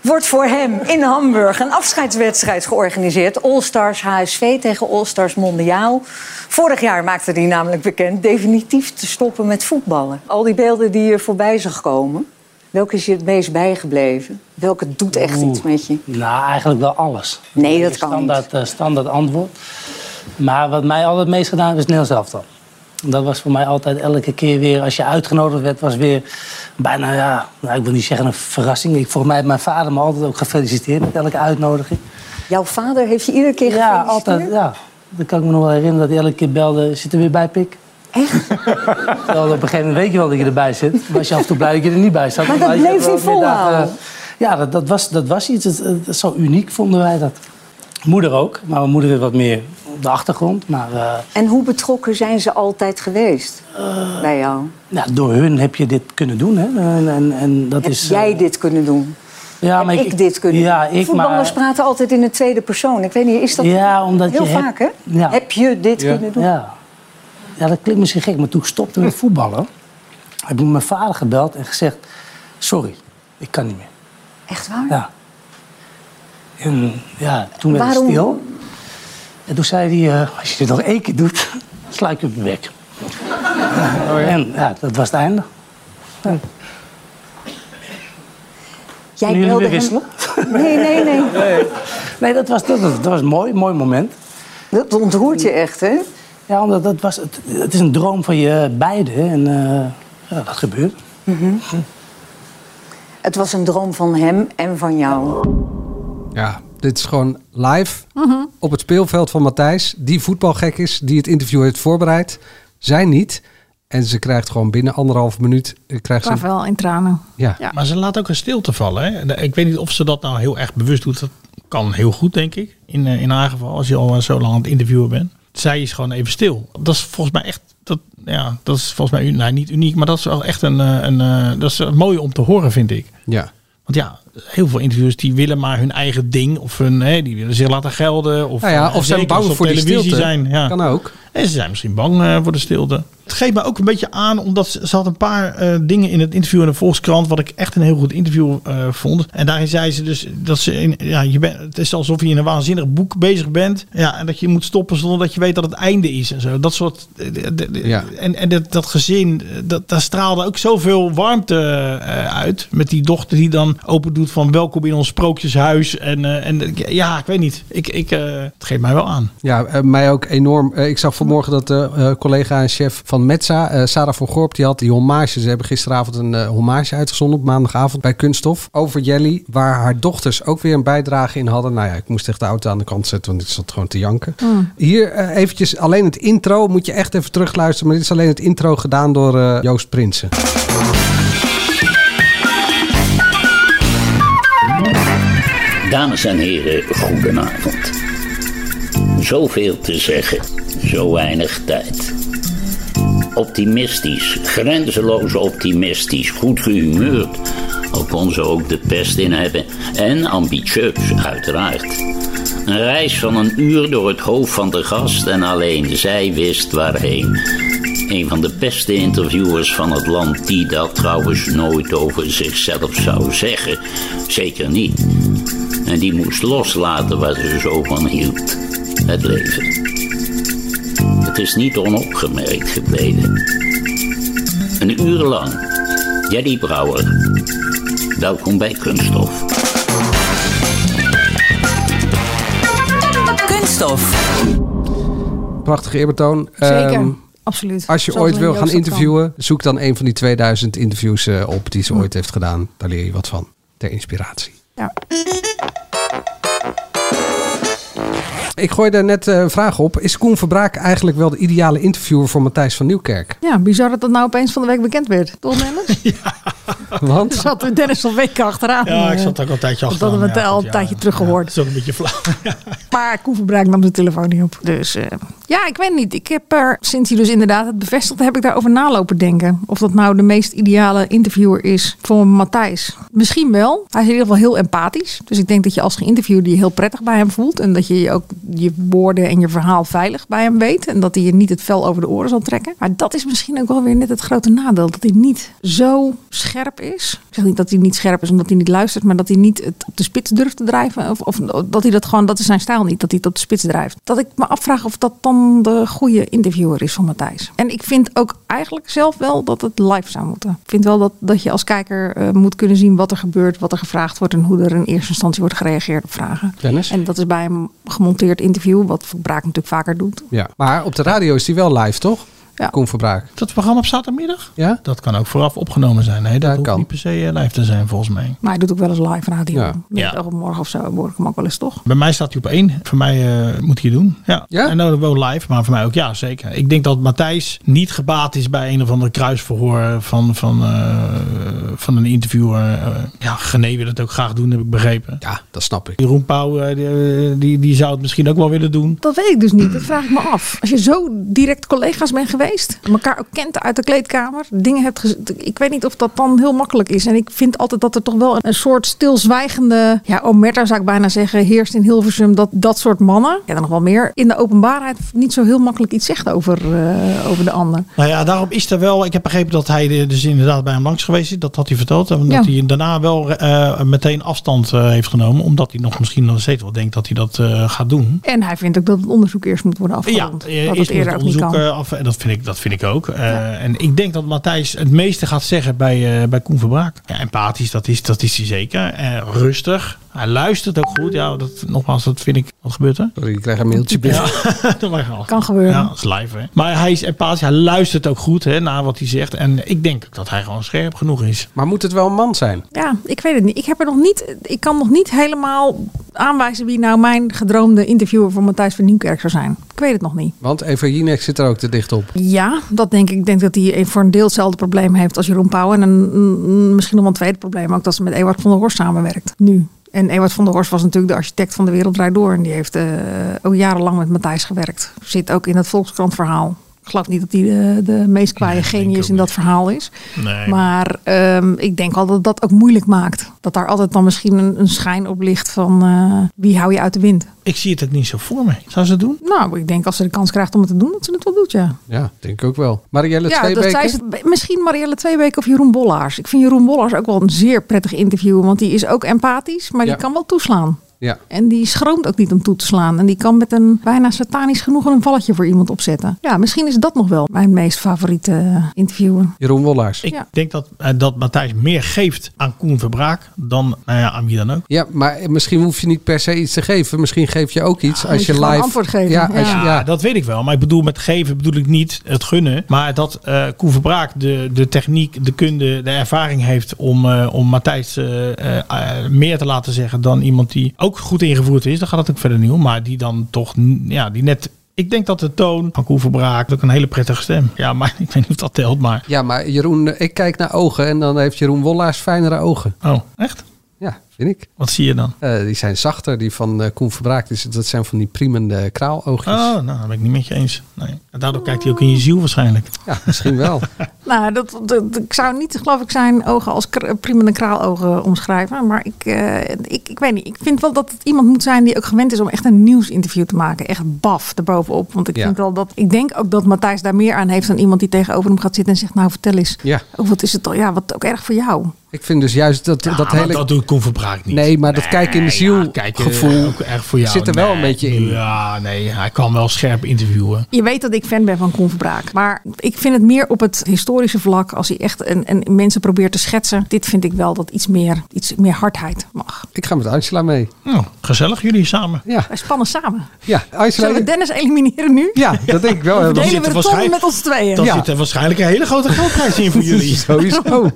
Speaker 7: wordt voor hem in Hamburg een afscheidswedstrijd georganiseerd. All-Stars HSV tegen All-Stars Mondiaal. Vorig jaar maakte hij namelijk bekend definitief te stoppen met voetballen. Al die beelden die je voorbij zag komen, welke is je het meest bijgebleven? Welke doet echt iets met je?
Speaker 8: Nou, eigenlijk wel alles.
Speaker 7: Nee, dat
Speaker 8: is
Speaker 7: kan
Speaker 8: standaard, eh, standaard antwoord. Maar wat mij altijd het meest gedaan heeft, is Nederlands elftal. Dat was voor mij altijd elke keer weer, als je uitgenodigd werd, was weer bijna, ja, nou, ik wil niet zeggen een verrassing. Ik, volgens mij heeft mijn vader me altijd ook gefeliciteerd met elke uitnodiging.
Speaker 7: Jouw vader heeft je iedere keer
Speaker 8: Ja, altijd, ja. Dat kan ik me nog wel herinneren, dat hij elke keer belde, zit er weer bij, Pik? Echt? Terwijl op een gegeven moment weet je wel dat je erbij zit. Was je af en toe blij dat je er niet bij zat.
Speaker 7: Maar dat
Speaker 8: je
Speaker 7: bleef
Speaker 8: hebt wel
Speaker 7: hij
Speaker 8: weer dagen- eh,
Speaker 7: volhouden.
Speaker 8: Ja, dat, dat, was, dat was iets. Het- het- het- zo uniek vonden wij dat. Moeder ook, maar mijn moeder weer wat meer op de achtergrond. Maar eh,
Speaker 7: En hoe betrokken zijn ze altijd geweest
Speaker 8: Eh,
Speaker 7: bij jou?
Speaker 8: ja, door hun heb je dit kunnen doen. Hè? En, en, en dat
Speaker 7: Heb
Speaker 8: is, eh,
Speaker 7: jij dit kunnen doen?
Speaker 8: ja,
Speaker 7: Heb
Speaker 8: maar
Speaker 7: ik, dit kunnen
Speaker 8: ja,
Speaker 7: doen?
Speaker 8: ik,
Speaker 7: Voetballers
Speaker 8: maar,
Speaker 7: praten altijd in de tweede persoon. Ik weet niet, is dat
Speaker 8: Ja, omdat
Speaker 7: heel
Speaker 8: je hebt-
Speaker 7: vaak, hè?
Speaker 8: ja.
Speaker 7: Heb je dit
Speaker 8: Ja.
Speaker 7: kunnen doen?
Speaker 8: Ja. ja, dat klinkt misschien gek, maar toen ik stopte met voetballen... heb ik mijn vader gebeld en gezegd... sorry, ik kan niet meer.
Speaker 7: Echt waar?
Speaker 8: Ja. En ja, toen werd
Speaker 7: Waarom?
Speaker 8: het stil. En toen zei hij, eh, als je dit nog één keer doet, sla ik je op je bek. En ja, dat was het einde. Ja.
Speaker 7: Jij
Speaker 8: Kunnen jullie
Speaker 7: wilde
Speaker 8: weer
Speaker 7: hem-
Speaker 8: wisselen?
Speaker 7: Nee, nee, nee.
Speaker 8: Nee, dat was, dat, was- dat was een mooi, mooi moment.
Speaker 7: Dat ontroert je echt, hè?
Speaker 8: Ja, omdat dat was, het, het is een droom van je beiden. En eh, ja, dat gebeurt.
Speaker 7: Mhm. Het was een droom van hem en van jou.
Speaker 4: Ja, dit is gewoon live
Speaker 7: Mhm.
Speaker 4: op het speelveld van Matthijs, die voetbalgek is, die het interview heeft voorbereid. Zij niet. En ze krijgt gewoon binnen anderhalf minuut. eh, Krijgt ze...
Speaker 2: Rafael in tranen.
Speaker 4: Ja.
Speaker 3: Maar ze laat ook een stilte vallen. Hè? En Ik weet niet of ze dat nou heel erg bewust doet. Dat kan heel goed, denk ik. In, eh, in haar geval, als je al eh, zo lang aan het interviewen bent. Zij is gewoon even stil. Dat is volgens mij echt... Dat, ja, dat is volgens mij u- nou, niet uniek, maar dat is wel echt een, eh, een, eh, dat is eh, mooi om te horen, vind ik.
Speaker 4: Ja.
Speaker 3: Want ja, heel veel interviewers die willen maar hun eigen ding. Of hun, hè, die willen zich laten gelden. Of,
Speaker 4: Nou ja,
Speaker 3: eh,
Speaker 4: of zijn
Speaker 3: zeker
Speaker 4: bang
Speaker 3: als ze op
Speaker 4: voor die
Speaker 3: televisie
Speaker 4: stilte.
Speaker 3: Zijn, ja.
Speaker 4: Kan ook.
Speaker 3: En ze zijn misschien bang eh, voor de stilte. Het geeft me ook een beetje aan, omdat ze, ze had een paar eh, dingen in het interview in de Volkskrant, wat ik echt een heel goed interview eh, vond. En daarin zei ze dus dat ze, in, ja, je bent, het is alsof je in een waanzinnig boek bezig bent. Ja, en dat je moet stoppen zonder dat je weet dat het einde is en zo. Dat soort, eh, de- de- de-
Speaker 4: Ja.
Speaker 3: en, en dat, dat gezin, eh, dat, daar straalde ook zoveel warmte eh, uit. Met die dochter die dan open doet van welkom in ons sprookjeshuis. En, eh, en ja, ik weet niet. Ik, ik, eh, het geeft mij wel aan.
Speaker 4: Ja, eh, mij ook enorm. Eh, ik zag vanmorgen dat de eh, collega en chef van Metza, eh, Sarah van Gorp, die had die hommage. Ze hebben gisteravond een eh, hommage uitgezonden op maandagavond bij Kunststof over Jelly, waar haar dochters ook weer een bijdrage in hadden. Nou ja, ik moest echt de auto aan de kant zetten, want ik zat gewoon te janken.
Speaker 2: Mm.
Speaker 4: Hier eh, eventjes alleen het intro. Moet je echt even terugluisteren, maar dit is alleen het intro gedaan door eh, Joost Prinsen.
Speaker 13: Dames en heren, goedenavond. Zoveel te zeggen, zo weinig tijd. Optimistisch, grenzeloos optimistisch, goed gehumeurd. Al kon ze ook de pest in hebben. En ambitieus, uiteraard. Een reis van een uur door het hoofd van de gast en alleen zij wist waarheen. Een van de beste interviewers van het land, die dat trouwens nooit over zichzelf zou zeggen. Zeker niet. En die moest loslaten waar ze zo van hield: het leven. Het is niet onopgemerkt gebleven. Een uur lang. Jerry Brouwer. Welkom bij Kunststof.
Speaker 1: Kunststof.
Speaker 4: Prachtige eerbetoon.
Speaker 2: Zeker,
Speaker 4: Ehm,
Speaker 2: absoluut.
Speaker 4: Als je
Speaker 2: Zoals
Speaker 4: ooit wil
Speaker 2: Leen
Speaker 4: gaan
Speaker 2: Joost dat kan.
Speaker 4: interviewen, zoek dan een van die 2000 interviews eh, op die ze ooit heeft gedaan. Daar leer je wat van. Ter inspiratie.
Speaker 2: Ja.
Speaker 4: Ik gooi daar net eh, een vraag op. Is Koen Verbraak eigenlijk wel de ideale interviewer voor Matthijs van Nieuwkerk?
Speaker 2: Ja, bizar dat dat nou opeens van de week bekend werd. Toch, Dennis?
Speaker 4: Want?
Speaker 2: Er zat Dennis al weken achteraan.
Speaker 3: Ja, ik zat ook al een tijdje
Speaker 2: Dat
Speaker 3: achteraan.
Speaker 2: hadden Eh, we het
Speaker 3: Ja,
Speaker 2: al
Speaker 3: goed,
Speaker 2: een
Speaker 3: ja,
Speaker 2: tijdje
Speaker 3: ja.
Speaker 2: terug gehoord.
Speaker 3: Dat is ook een beetje flauw.
Speaker 2: Maar Koen Verbraak nam de telefoon niet op. Dus eh, ja, ik weet niet. Ik heb er, sinds hij dus inderdaad het bevestigde, heb ik daarover nalopen denken. Of dat nou de meest ideale interviewer is voor Matthijs. Misschien wel. Hij is in ieder geval heel empathisch. Dus ik denk dat je als geïnterviewde je heel prettig bij hem voelt. En dat je je ook je woorden en je verhaal veilig bij hem weet. En dat hij je niet het vel over de oren zal trekken. Maar dat is misschien ook wel weer net het grote nadeel. Dat hij niet zo scherp is. Ik zeg niet dat hij niet scherp is omdat hij niet luistert. Maar dat hij niet het op de spits durft te drijven. Of, of dat hij dat gewoon, dat is zijn stijl niet. Dat hij het op de spits drijft. Dat ik me afvraag of dat dan de goede interviewer is van Matthijs. En ik vind ook eigenlijk zelf wel dat het live zou moeten. Ik vind wel dat, dat je als kijker eh, moet kunnen zien wat er gebeurt. Wat er gevraagd wordt. En hoe er in eerste instantie wordt gereageerd op vragen.
Speaker 4: Dennis?
Speaker 2: En dat is bij een gemonteerd interview. Wat Braak natuurlijk vaker doet.
Speaker 4: Ja. Maar op de radio is die wel live, toch?
Speaker 2: Ja.
Speaker 4: Koen Verbraak.
Speaker 3: Dat programma op zaterdagmiddag?
Speaker 4: Ja?
Speaker 3: Dat kan ook vooraf opgenomen zijn. Nee, dat hoeft
Speaker 4: kan.
Speaker 3: niet per se eh, live te zijn volgens mij.
Speaker 2: Maar hij doet ook wel eens live radio.
Speaker 3: Ja.
Speaker 2: Ja. Morgen of zo hoor ik hem ook wel eens toch?
Speaker 3: Bij mij staat hij op één. Voor mij eh, moet hij het doen. Ja. En dan wel live, maar voor mij ook ja, zeker. Ik denk dat Matthijs niet gebaat is bij een of ander kruisverhoor van, van, eh, van een interviewer. Eh, ja, Gené wil het ook graag doen, heb ik begrepen.
Speaker 4: Ja, dat snap ik.
Speaker 3: Jeroen Pauw, eh, die, die, die zou het misschien ook wel willen doen.
Speaker 2: Dat weet ik dus niet. Dat vraag ik me af. Als je zo direct collega's bent geweest, elkaar ook kent uit de kleedkamer, dingen hebt gez- Ik weet niet of dat dan heel makkelijk is. En ik vind altijd dat er toch wel een, een soort stilzwijgende, ja, omerta zou ik bijna zeggen, heerst in Hilversum. Dat dat soort mannen, en er nog wel meer, in de openbaarheid niet zo heel makkelijk iets zegt over, eh, over de ander.
Speaker 3: Nou ja, daarom is er wel. Ik heb begrepen dat hij eh, dus inderdaad bij hem langs geweest is. Dat had hij verteld. En dat
Speaker 2: Ja.
Speaker 3: hij daarna wel eh, meteen afstand eh, heeft genomen. Omdat hij nog misschien nog steeds wel denkt dat hij dat eh, gaat doen.
Speaker 2: En hij vindt ook dat het onderzoek eerst moet worden afgerond.
Speaker 3: eh,
Speaker 2: dat
Speaker 3: eerst
Speaker 2: het
Speaker 3: moet
Speaker 2: eerder
Speaker 3: het
Speaker 2: ook niet
Speaker 3: onderzoek
Speaker 2: kan.
Speaker 3: eh, af. En dat vind ik, dat vind ik ook. Eh, En ik denk dat Matthijs het meeste gaat zeggen bij, eh, bij Koen Verbraak. Ja, empathisch, dat is, dat is hij zeker. Eh, rustig. Hij luistert ook goed. Ja, dat, nogmaals, dat vind ik. Wat gebeurt er?
Speaker 4: Sorry, ik krijg een mailtje binnen.
Speaker 3: Ja, dat mag wel.
Speaker 2: Kan gebeuren.
Speaker 3: Ja, dat is live, hè. Maar hij is empathisch. Hij luistert ook goed hè, naar wat hij zegt. En ik denk ook dat hij gewoon scherp genoeg is.
Speaker 4: Maar moet het wel een man zijn?
Speaker 2: Ja, ik weet het niet. Ik, heb er nog niet. ik kan nog niet helemaal aanwijzen wie nou mijn gedroomde interviewer voor Matthijs van Nieuwkerk zou zijn. Ik weet het nog niet.
Speaker 4: Want Eva Jinek zit er ook te dicht op.
Speaker 2: Ja, dat denk ik. Ik denk dat hij voor een deel hetzelfde probleem heeft als Jeroen Pauw. En een, mm, misschien nog wel een tweede probleem ook dat ze met Ewart van der Horst samenwerkt. Nu. En Ewart van der Horst was natuurlijk de architect van de Wereld Draait Door. En die heeft eh, ook jarenlang met Matthijs gewerkt. Zit ook in het Volkskrant verhaal. Ik geloof niet dat hij de, de meest kwaaie genius in dat verhaal is.
Speaker 3: Nee.
Speaker 2: Maar ehm, ik denk al dat dat ook moeilijk maakt. Dat daar altijd dan misschien een, een schijn op ligt van eh, wie hou je uit de wind.
Speaker 3: Ik zie het ook niet zo voor me. Zou ze het doen?
Speaker 2: Nou, ik denk als ze de kans krijgt om het te doen, dat ze het wel doet, ja.
Speaker 4: Ja, denk ik ook wel. Marielle
Speaker 2: Ja, dat
Speaker 4: Tweebeke?
Speaker 2: zei ze- misschien Marielle Tweebeek of Jeroen Bollaars. Ik vind Jeroen Bollaars ook wel een zeer prettig interview. Want die is ook empathisch, maar
Speaker 4: Ja.
Speaker 2: die kan wel toeslaan.
Speaker 4: Ja.
Speaker 2: En die schroomt ook niet om toe te slaan. En die kan met een bijna satanisch genoegen een valletje voor iemand opzetten. Ja, misschien is dat nog wel mijn meest favoriete eh, interviewer.
Speaker 4: Jeroen Wollaars.
Speaker 3: Ik denk dat, eh, dat Matthijs meer geeft aan Koen Verbraak dan nou ja, aan wie dan ook.
Speaker 4: Ja, maar misschien hoef je niet per se iets te geven. Misschien geef je ook iets als
Speaker 2: moet
Speaker 4: je,
Speaker 2: je gewoon
Speaker 4: live...
Speaker 2: antwoord geven.
Speaker 4: Ja, als je-
Speaker 3: ja,
Speaker 4: ja.
Speaker 3: dat weet ik wel. Maar ik bedoel, met geven bedoel ik niet het gunnen. Maar dat eh Koen Verbraak de, de techniek, de kunde, de ervaring heeft om, eh, om Matthijs eh, eh, eh, meer te laten zeggen dan iemand die ook goed ingevoerd is. Daar gaat het ook verder niet om. Maar die dan toch, n- ja, die net... Ik denk dat de toon van Koen Verbraak ook een hele prettige stem. Ja, maar ik weet niet of dat telt, maar...
Speaker 4: ja, maar Jeroen, eh, ik kijk naar ogen en dan heeft Jeroen Wollaars fijnere ogen.
Speaker 3: Oh, echt?
Speaker 4: Ja, vind ik.
Speaker 3: Wat zie je dan?
Speaker 4: Eh, die zijn zachter, die van eh Koen Verbraak. Dus dat zijn van die priemende kraaloogjes.
Speaker 3: Oh, nou, dat ben ik niet met je eens. Nee. En daardoor kijkt hij ook in je ziel waarschijnlijk.
Speaker 4: Ja, misschien wel.
Speaker 2: Nou, dat, dat- ik zou niet, geloof ik, zijn ogen als kr- prima een kraalogen omschrijven. Maar ik, eh, ik, ik weet niet. Ik vind wel dat het iemand moet zijn die ook gewend is om echt een nieuwsinterview te maken. Echt baf erbovenop. Want ik
Speaker 4: Ja.
Speaker 2: vind wel dat. Ik denk ook dat Matthijs daar meer aan heeft dan iemand die tegenover hem gaat zitten en zegt: Nou, vertel eens.
Speaker 4: Ja.
Speaker 2: Oh, wat is het al? Ja, wat ook erg voor jou.
Speaker 4: Ik vind dus juist dat, dat
Speaker 3: maar
Speaker 4: hele...
Speaker 3: dat doet Koen Verbraak niet.
Speaker 4: Nee, maar dat kijken in de ziel
Speaker 3: Kijk, eh,
Speaker 4: gevoel
Speaker 3: ook erg voor jou.
Speaker 4: zit er wel
Speaker 3: Nee,
Speaker 4: een beetje in.
Speaker 3: Ja, nee, hij kan wel scherp interviewen.
Speaker 2: Je weet dat ik fan ben van Koen Verbraak. Maar ik vind het meer op het historische vlak. Als hij echt een, een mensen probeert te schetsen. Dit vind ik wel dat iets meer, iets meer hardheid mag.
Speaker 4: Ik ga met Angela mee.
Speaker 3: Nou, gezellig jullie samen.
Speaker 4: Ja,
Speaker 2: Wij spannen samen.
Speaker 4: ja Angela...
Speaker 2: Zullen we Dennis elimineren nu?
Speaker 4: Ja, dat denk ik wel.
Speaker 2: Dan
Speaker 3: zit
Speaker 2: verdelen
Speaker 3: er
Speaker 2: we de ton
Speaker 3: waarschijn-
Speaker 2: met ons tweeën.
Speaker 3: Dan
Speaker 4: Ja.
Speaker 3: zit er waarschijnlijk een hele grote geldprijs in voor jullie.
Speaker 4: Sowieso.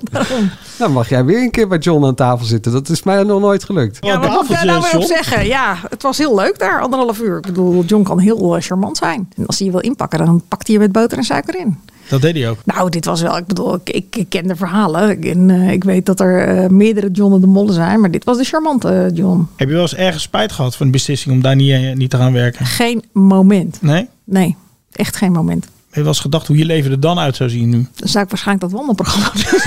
Speaker 4: Dan mag jij weer een keer bij John aan tafel zitten. Dat is mij nog nooit gelukt.
Speaker 2: Ja, wat moet ik daar nou weer op zeggen? Ja, het was heel leuk daar, anderhalf uur. Ik bedoel, John kan heel eh, charmant zijn. En als hij je wil inpakken, dan pakt hij je met boter en suiker in.
Speaker 3: Dat deed hij ook.
Speaker 2: Nou, dit was wel, ik bedoel, ik, ik, ik ken de verhalen. Ik- En eh, ik weet dat er eh, meerdere John de Molle zijn, maar dit was de charmante eh, John.
Speaker 3: Heb je wel eens ergens spijt gehad van de beslissing om daar niet, eh, niet te gaan werken?
Speaker 2: Geen moment.
Speaker 3: Nee? Heb
Speaker 2: Nee, echt geen moment.
Speaker 3: je wel eens gedacht hoe je leven er dan uit zou zien nu?
Speaker 2: Dan zou ik waarschijnlijk dat wandelprogramma doen.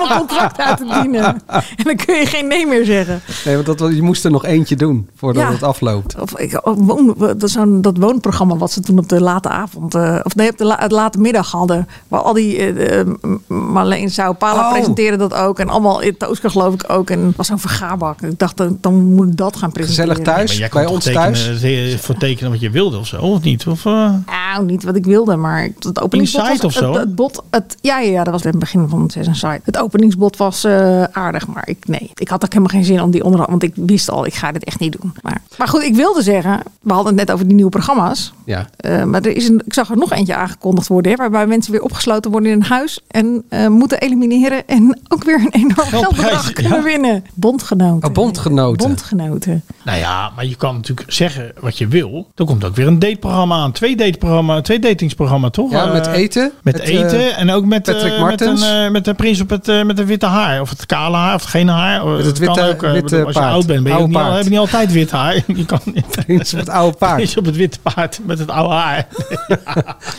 Speaker 2: om een contract uit te dienen. En dan kun je geen nee meer zeggen.
Speaker 4: Nee, want dat, was- je moest er nog eentje doen voordat
Speaker 2: Ja.
Speaker 4: het afloopt.
Speaker 2: Of ik, of woon, dat, zo'n- dat woonprogramma wat ze toen op de late avond, eh, of nee, op de la, het late middag hadden. Waar al die eh, eh, M- Marleen Sao Paula
Speaker 4: Oh.
Speaker 2: presenteerde dat ook. En allemaal in Tooska geloof ik ook. En het was zo'n vergaarbak. Ik dacht, dan, dan moet ik dat gaan presenteren.
Speaker 4: Gezellig thuis,
Speaker 3: jij kon
Speaker 4: bij
Speaker 3: toch
Speaker 4: ons
Speaker 3: tekenen,
Speaker 4: thuis.
Speaker 3: eh, voor tekenen wat je wilde of zo, of niet? Of, eh,
Speaker 2: Nou, niet wat ik wilde, maar het openingsbod
Speaker 3: Inside
Speaker 2: was,
Speaker 3: of zo?
Speaker 2: Het, het bot, het, ja, ja, ja, dat was in het begin van het seizoen site. Het openingsbod was eh, aardig, maar ik, nee. Ik had ook helemaal geen zin om die onderhoud, want ik wist al, ik ga dit echt niet doen. Maar, maar goed, ik wilde zeggen, we hadden het net over die nieuwe programma's.
Speaker 4: Ja.
Speaker 2: Eh, maar er is een, ik zag er nog eentje aangekondigd worden, hè, waarbij mensen weer opgesloten worden in een huis en eh, moeten elimineren en ook weer een enorm geldbedrag kunnen
Speaker 3: ja.
Speaker 2: winnen. Bondgenoten.
Speaker 4: Oh, bondgenoten.
Speaker 2: Bondgenoten.
Speaker 3: nou ja, maar je kan natuurlijk zeggen wat je wil. Dan komt ook weer een dateprogramma aan. Twee, dateprogramma, twee datingsprogramma, toch?
Speaker 4: Ja, met
Speaker 3: Eh,
Speaker 4: eten.
Speaker 3: Met
Speaker 4: Het,
Speaker 3: eten
Speaker 4: eh,
Speaker 3: en ook met,
Speaker 4: Patrick
Speaker 3: eh, met, een,
Speaker 4: Martens.
Speaker 3: eh, met een prins op het, eh, met een witte haar. Of het kale haar of het gele haar. Of,
Speaker 4: het
Speaker 3: dat kan
Speaker 4: witte-
Speaker 3: ook, eh,
Speaker 4: witte
Speaker 3: bedoel, als je
Speaker 4: paard.
Speaker 3: oud bent, ben je ook
Speaker 4: Oude
Speaker 3: niet, al-
Speaker 4: paard.
Speaker 3: heb je niet altijd wit haar. Je kan niet.
Speaker 4: Prins op het oude paard.
Speaker 3: Prins op het witte paard met het oude haar.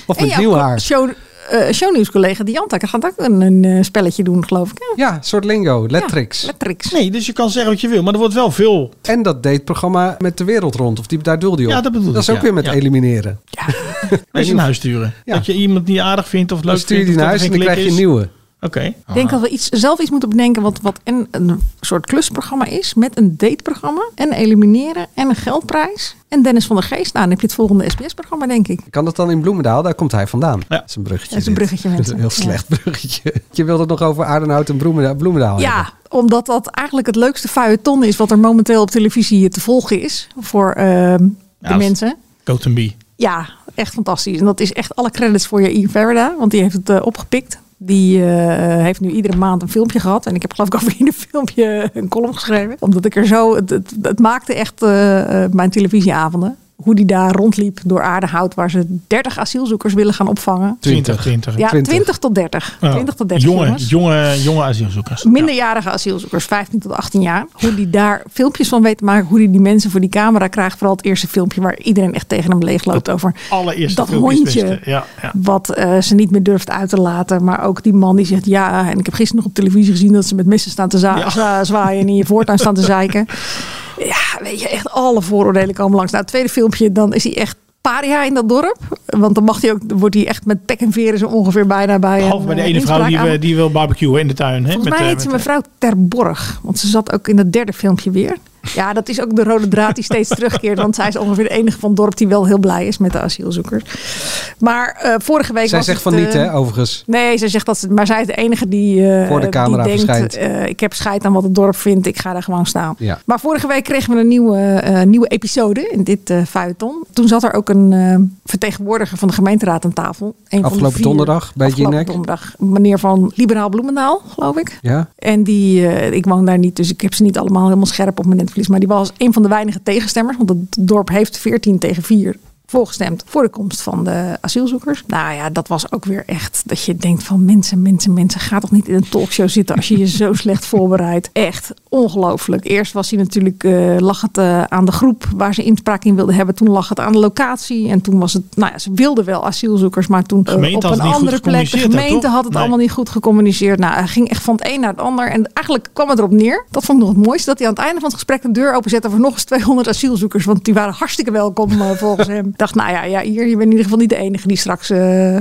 Speaker 4: Of
Speaker 2: En
Speaker 4: met
Speaker 2: jouw
Speaker 4: nieuw
Speaker 2: co-
Speaker 4: haar.
Speaker 2: Show, eh shownieuwscollega Dianta gaat ook een, een eh, spelletje doen, geloof ik. hè?
Speaker 4: Ja, een soort lingo. Lettrix.
Speaker 2: Lettrix.
Speaker 3: Nee, dus je kan zeggen wat je wil, maar er wordt wel veel.
Speaker 4: En dat dateprogramma met de wereld rond. Of die, daar doelde je op.
Speaker 3: Ja, dat bedoel
Speaker 4: Dat is
Speaker 3: ik,
Speaker 4: ook
Speaker 3: ja.
Speaker 4: weer met
Speaker 3: Ja.
Speaker 4: elimineren.
Speaker 3: Mensen naar huis sturen.
Speaker 4: Ja.
Speaker 3: Dat je iemand niet aardig vindt of leuk
Speaker 4: Dan stuur je die
Speaker 3: vindt.
Speaker 4: naar
Speaker 3: of dat
Speaker 4: huis
Speaker 3: er
Speaker 4: en dan
Speaker 3: geen
Speaker 4: krijg je een
Speaker 3: klik
Speaker 4: nieuwe.
Speaker 3: is. Oké.
Speaker 2: Ik
Speaker 4: Ah.
Speaker 2: denk dat we iets, zelf iets moeten bedenken wat, wat en een soort klusprogramma is. Met een dateprogramma. En elimineren. En een geldprijs. En Dennis van der Geest. Nou, dan heb je het volgende SBS-programma, denk ik.
Speaker 4: Kan dat dan in Bloemendaal? Daar komt hij vandaan.
Speaker 3: Ja.
Speaker 4: Dat is een bruggetje.
Speaker 2: Dat is een
Speaker 4: dit.
Speaker 2: bruggetje,
Speaker 4: Dat is een heel
Speaker 2: mensen.
Speaker 4: slecht bruggetje. Je wilde het nog over Aardenhout en Bloemendaal,
Speaker 3: Oh,
Speaker 4: Bloemendaal hebben.
Speaker 2: Ja, omdat dat eigenlijk het leukste feuilleton is wat er momenteel op televisie te volgen is. Voor ehm, de
Speaker 3: dat is-
Speaker 2: mensen.
Speaker 3: Coat and Bee.
Speaker 2: Ja, echt fantastisch. En dat is echt alle credits voor Jair Verda, want die heeft het eh, opgepikt. Die eh, heeft nu iedere maand een filmpje gehad. En ik heb geloof ik over ieder filmpje een column geschreven. Omdat ik er zo... Het, het, het maakte echt eh, eh, mijn televisieavonden. Hoe die daar rondliep door Aardehout. Waar ze 30 asielzoekers willen gaan opvangen.
Speaker 3: 20, 20.
Speaker 2: Ja,
Speaker 4: 20.
Speaker 2: 20, tot 30. 20 tot 30
Speaker 3: Nou, jonge,
Speaker 2: jongens.
Speaker 3: jonge, jonge asielzoekers.
Speaker 2: Minderjarige asielzoekers, 15 tot 18 jaar. Hoe die daar filmpjes van weet te maken. Hoe die die mensen voor die camera krijgt. Vooral het eerste filmpje waar iedereen echt tegen hem leeg loopt over
Speaker 3: Allereerste
Speaker 2: dat
Speaker 3: filmpje is het
Speaker 2: hondje.
Speaker 3: beste. Ja, ja.
Speaker 2: Wat eh, ze niet meer durft uit te laten. Maar ook die man die zegt ja. En ik heb gisteren nog op televisie gezien dat ze met messen staan te za-
Speaker 3: Ja.
Speaker 2: za- zwaaien. En in je voortuin staan te zeiken. Ja, weet je, echt alle vooroordelen komen langs. Nou, het tweede filmpje, dan is hij echt paria in dat dorp. Want dan mag hij ook, wordt hij echt met pek en veren zo ongeveer bijna bij
Speaker 3: Behalve
Speaker 2: een,
Speaker 3: bij de
Speaker 2: eh,
Speaker 3: ene vrouw
Speaker 2: inspraak
Speaker 3: die,
Speaker 2: aan-
Speaker 3: we, die wil barbecuen in de tuin. Hè?
Speaker 2: Volgens
Speaker 3: Met,
Speaker 2: mij
Speaker 3: eh,
Speaker 2: heet ze
Speaker 3: met, eh,
Speaker 2: mevrouw Terborg. Want ze zat ook in dat derde filmpje weer. Ja, dat is ook de rode draad die steeds terugkeert. Want zij is ongeveer de enige van het dorp die wel heel blij is met de asielzoekers. Maar eh, vorige week
Speaker 4: Zij
Speaker 2: was
Speaker 4: zegt
Speaker 2: het,
Speaker 4: van niet,
Speaker 2: eh,
Speaker 4: hè, overigens.
Speaker 2: Nee, zij zegt dat ze. Maar zij is de enige die. eh,
Speaker 4: Voor de camera
Speaker 2: die denkt,
Speaker 4: verschijnt.
Speaker 2: eh, ik heb scheid aan wat het dorp vindt. Ik ga daar gewoon staan.
Speaker 4: Ja.
Speaker 2: Maar vorige week kregen we een nieuwe, eh, nieuwe episode in dit eh feuilleton. Toen zat er ook een eh, vertegenwoordiger van de gemeenteraad aan tafel. Een van de
Speaker 4: Afgelopen
Speaker 2: vier,
Speaker 4: donderdag bij
Speaker 2: afgelopen
Speaker 4: Jinek.
Speaker 2: donderdag. Meneer van Liberaal Bloemendaal, geloof ik.
Speaker 4: Ja.
Speaker 2: En die, eh, ik woon daar niet, dus ik heb ze niet allemaal helemaal scherp op mijn netvlies. Maar die was een van de weinige tegenstemmers, want het dorp heeft 14 tegen 4 voorgestemd voor de komst van de asielzoekers. Nou ja, dat was ook weer echt dat je denkt van mensen, mensen, mensen, ga toch niet in een talkshow zitten als je je zo slecht voorbereidt. Echt ongelooflijk. Eerst was hij natuurlijk, eh, lag het eh, aan de groep waar ze inspraak in wilden hebben. Toen lag het aan de locatie en toen was het, nou ja, ze wilden wel asielzoekers, maar toen eh,
Speaker 3: Gemeente
Speaker 2: op
Speaker 3: had
Speaker 2: een
Speaker 3: het niet goed
Speaker 2: andere plek. De
Speaker 3: gecommuniceerd, hè,
Speaker 2: gemeente
Speaker 3: toch?
Speaker 2: had het
Speaker 3: Nee.
Speaker 2: allemaal niet niet goed gecommuniceerd. Nou, hij ging echt van het een naar het ander. En eigenlijk kwam het erop neer. Dat vond ik nog het mooiste. Dat hij aan het einde van het gesprek de deur openzette voor nog eens 200 asielzoekers. Want die waren hartstikke welkom eh, volgens hem. Ik dacht, nou ja, ja, hier, je bent in ieder geval niet de enige die straks, eh,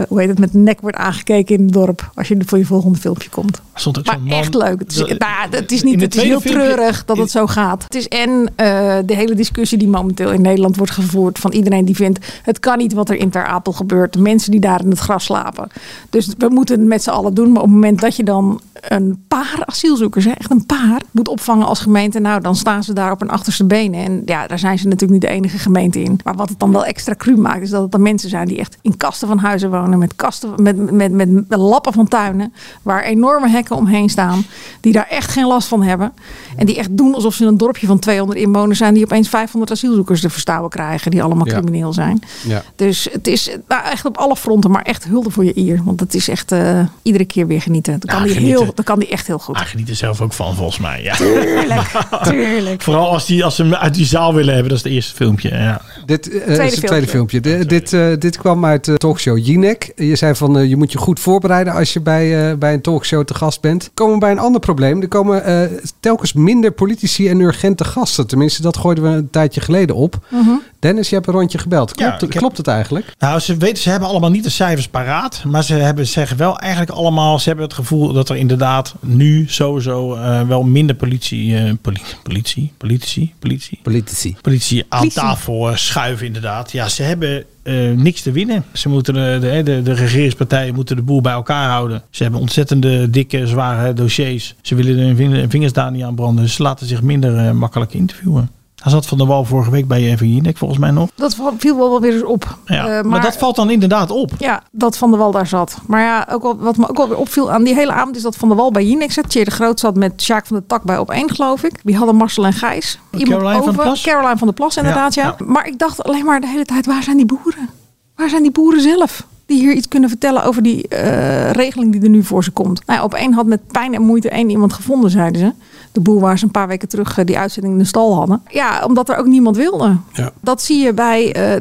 Speaker 2: hoe heet het, met de nek wordt aangekeken in het dorp. Als je voor je volgende filmpje komt.
Speaker 3: Stond ook
Speaker 2: Maar
Speaker 3: zo'n man-
Speaker 2: echt leuk. Het is,
Speaker 3: Dat-
Speaker 2: nou, ja, het is, niet,
Speaker 3: in de
Speaker 2: het is
Speaker 3: tweede
Speaker 2: heel
Speaker 3: filmpje-
Speaker 2: treurig dat het zo gaat. Het is en eh, de hele discussie die momenteel in Nederland wordt gevoerd. Van iedereen die vindt, het kan niet wat er in Ter Apel gebeurt. De mensen die daar in het gras slapen. Dus we moeten het met z'n allen doen. Maar op het moment dat je dan een paar asielzoekers, hè, echt een paar, moet opvangen als gemeente. Nou, dan staan ze daar op hun achterste benen. En ja, daar zijn ze natuurlijk niet de enige gemeente in. Maar wat het dan wel extra cru maakt, is dat het dan mensen zijn die echt in kasten van huizen wonen. Met, kasten, met, met, met, met lappen van tuinen. Waar enorme hekken omheen staan. Die daar echt geen last van hebben. En die echt doen alsof ze een dorpje van 200 inwoners zijn. Die opeens 500 asielzoekers te verstouwen krijgen. Die allemaal
Speaker 4: Ja.
Speaker 2: crimineel zijn.
Speaker 4: Ja.
Speaker 2: Dus het is eh, nou, echt op alle fronten. Maar echt hulde voor je ier. Want het is echt eh, iedere keer weer genieten. Dan kan,
Speaker 3: Ja,
Speaker 2: die
Speaker 3: genieten. Ah.
Speaker 2: Heel, dan kan die echt heel goed.
Speaker 3: Hij geniet er zelf ook van, volgens mij. Ja.
Speaker 2: Tuurlijk.
Speaker 3: Vooral als, die, als ze hem uit die zaal willen hebben. Dat is het eerste filmpje. Ja.
Speaker 4: Dit eh, is het tweede filmpje. Di- dit, eh, dit kwam uit de talkshow Jinek. Je zei van eh, je moet je goed voorbereiden als je bij, eh, bij een talkshow te gast bent. Komen we bij een ander probleem. Er komen eh, telkens minder politici en urgente gasten. Tenminste, dat gooiden we een tijdje geleden op.
Speaker 2: Mhm.
Speaker 4: Dennis, je hebt een rondje gebeld.
Speaker 3: Ja,
Speaker 4: Klopt,
Speaker 3: ik heb-
Speaker 4: klopt het eigenlijk?
Speaker 3: Nou, ze weten, ze hebben allemaal niet de cijfers paraat. Maar ze hebben, zeggen wel eigenlijk allemaal, ze hebben het gevoel dat er inderdaad nu sowieso eh, wel minder politie, eh, poli- politie, politie, politie,
Speaker 4: politici.
Speaker 3: Politie aan
Speaker 4: Politie.
Speaker 3: tafel eh, schuiven inderdaad. Ja, ze hebben eh, niks te winnen. Ze moeten eh, de, de, de, regeringspartijen moeten de boel bij elkaar houden. Ze hebben ontzettende dikke, zware dossiers. Ze willen hun vin- hun vingers daar niet aan branden. Ze laten zich minder eh, makkelijk interviewen. Hij zat van de wal vorige week bij Even Jinek, E volgens mij nog.
Speaker 2: Dat viel wel wel weer eens op.
Speaker 3: Ja,
Speaker 2: Eh,
Speaker 3: maar, dat valt dan inderdaad op.
Speaker 2: Ja, dat Van der Wal daar zat. Maar ja, ook al, wat me ook alweer opviel aan die hele avond is dat Van der Wal bij Jinek zat. Thierry de Groot zat met Sjaak van der Tak bij op één, geloof ik. Die hadden Marcel en Gijs.
Speaker 3: Caroline van der Plas?
Speaker 2: Caroline van der Plas, inderdaad, ja,
Speaker 3: Ja,
Speaker 2: Maar ik dacht alleen maar de hele tijd, waar zijn die boeren? Waar zijn die boeren zelf? Die hier iets kunnen vertellen over die eh, regeling die er nu voor ze komt. Nou ja, op één had met pijn en moeite één iemand gevonden, zeiden ze. De boer waar ze een paar weken terug eh, die uitzending in de stal hadden. Ja, omdat er ook niemand wilde. Dat zie je bij. eh,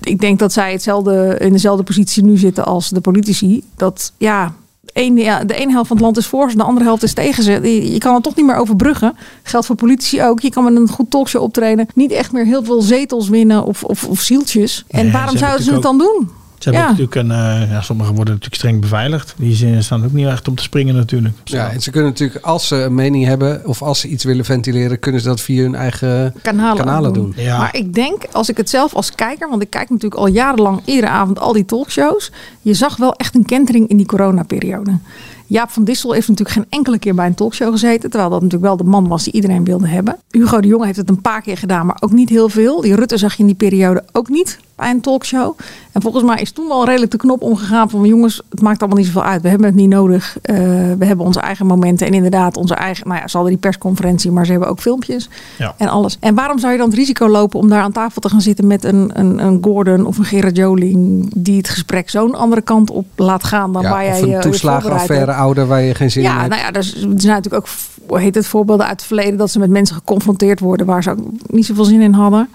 Speaker 2: ik denk dat zij hetzelfde, in dezelfde positie nu zitten als de politici. Dat ja. één- ja, de ene helft van het land is voor ze, de andere helft is tegen ze. Je- Je kan het toch niet meer overbruggen. Geldt voor politici ook. Je kan met een goed talkshow optreden. Niet echt meer heel veel zetels winnen of, of, of zieltjes. En
Speaker 3: Nee,
Speaker 2: waarom
Speaker 3: ze hebben
Speaker 2: zouden ze het dan
Speaker 3: natuurlijk
Speaker 2: doen?
Speaker 3: Ze hebben
Speaker 2: Ja.
Speaker 3: ook natuurlijk een, eh, ja, sommigen worden natuurlijk streng beveiligd. Die zijn- staan ook niet echt om te springen natuurlijk.
Speaker 4: Ja, en ze kunnen natuurlijk, als ze een mening hebben of als ze iets willen ventileren, kunnen ze dat via hun eigen
Speaker 2: kanalen,
Speaker 4: kanalen, doen.
Speaker 2: Maar ik denk, als ik het zelf als kijker, want ik kijk natuurlijk al jarenlang iedere avond al die talkshows. Je zag wel echt een kentering in die coronaperiode. Jaap van Dissel heeft natuurlijk geen enkele keer bij een talkshow gezeten. Terwijl dat natuurlijk wel de man was die iedereen wilde hebben. Hugo de Jonge heeft het een paar keer gedaan, maar ook niet heel veel. Die Rutte zag je in die periode ook niet bij een talkshow. En volgens mij is toen wel redelijk de knop omgegaan van jongens, het maakt allemaal niet zoveel uit. We hebben het niet nodig. Eh, we hebben onze eigen momenten en inderdaad onze eigen, nou ja, ze hadden die persconferentie, maar ze hebben ook filmpjes
Speaker 3: Ja.
Speaker 2: en alles. En waarom zou je dan het risico lopen om daar aan tafel te gaan zitten met een, een, een Gordon of een Gerard Joling die het gesprek zo'n andere kant op laat gaan dan waar
Speaker 4: Ja,
Speaker 2: jij eh,
Speaker 4: of
Speaker 2: je
Speaker 4: een
Speaker 2: je
Speaker 4: toeslagenaffaire
Speaker 2: voorbereidt hebt?
Speaker 4: ouder waar je geen zin in
Speaker 2: Ja,
Speaker 4: hebt.
Speaker 2: nou ja, dus, er zijn natuurlijk ook hoe heet het, voorbeelden uit het verleden dat ze met mensen geconfronteerd worden waar ze ook niet zoveel zin in hadden.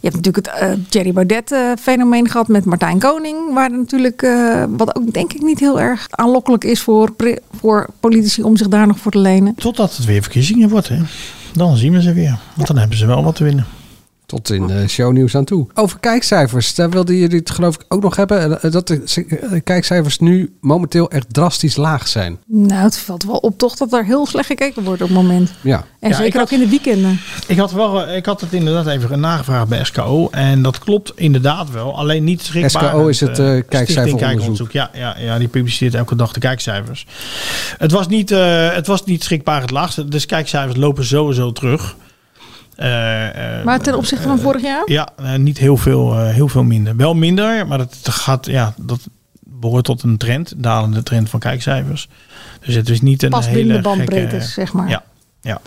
Speaker 2: Je hebt natuurlijk het eh Jerry Baudet eh, fenomeen gehad met Martijn Koning, waar natuurlijk, eh, wat ook denk ik niet heel erg aanlokkelijk is voor, pri- voor politici om zich daar nog voor te lenen.
Speaker 3: Totdat het weer verkiezingen wordt, hè. Dan zien we ze weer. Want dan hebben ze wel wat te winnen.
Speaker 4: Tot in eh, shownieuws aan toe. Over kijkcijfers, daar wilden jullie het geloof ik ook nog hebben. eh, Dat de eh, kijkcijfers nu momenteel echt drastisch laag zijn.
Speaker 2: Nou, het valt wel op toch dat er heel slecht gekeken wordt op het moment.
Speaker 4: Ja.
Speaker 2: En
Speaker 3: Ja, ik
Speaker 2: zeker ook in de weekenden.
Speaker 3: Ik had, wel, eh, ik had het inderdaad even nagevraagd bij SKO. En dat klopt inderdaad wel. Alleen niet schrikbarend.
Speaker 4: SKO is het, eh,
Speaker 3: eh, Stichting
Speaker 4: kijkcijferonderzoek.
Speaker 3: Ja, ja, ja, die publiceert elke dag de kijkcijfers. Het was niet, eh, het was niet schrikbaar het laagste. Dus kijkcijfers lopen sowieso terug. Eh, eh,
Speaker 2: Maar ten opzichte van vorig jaar?
Speaker 3: ja, eh, niet heel veel, eh, heel veel minder. Wel minder, maar dat gaat, ja, dat behoort tot een trend, dalende trend van kijkcijfers. Dus het is niet een
Speaker 2: Pas binnen
Speaker 3: hele
Speaker 2: de bandbreedtes,
Speaker 3: gekke- eh,
Speaker 2: zeg maar.
Speaker 3: Ja, ja.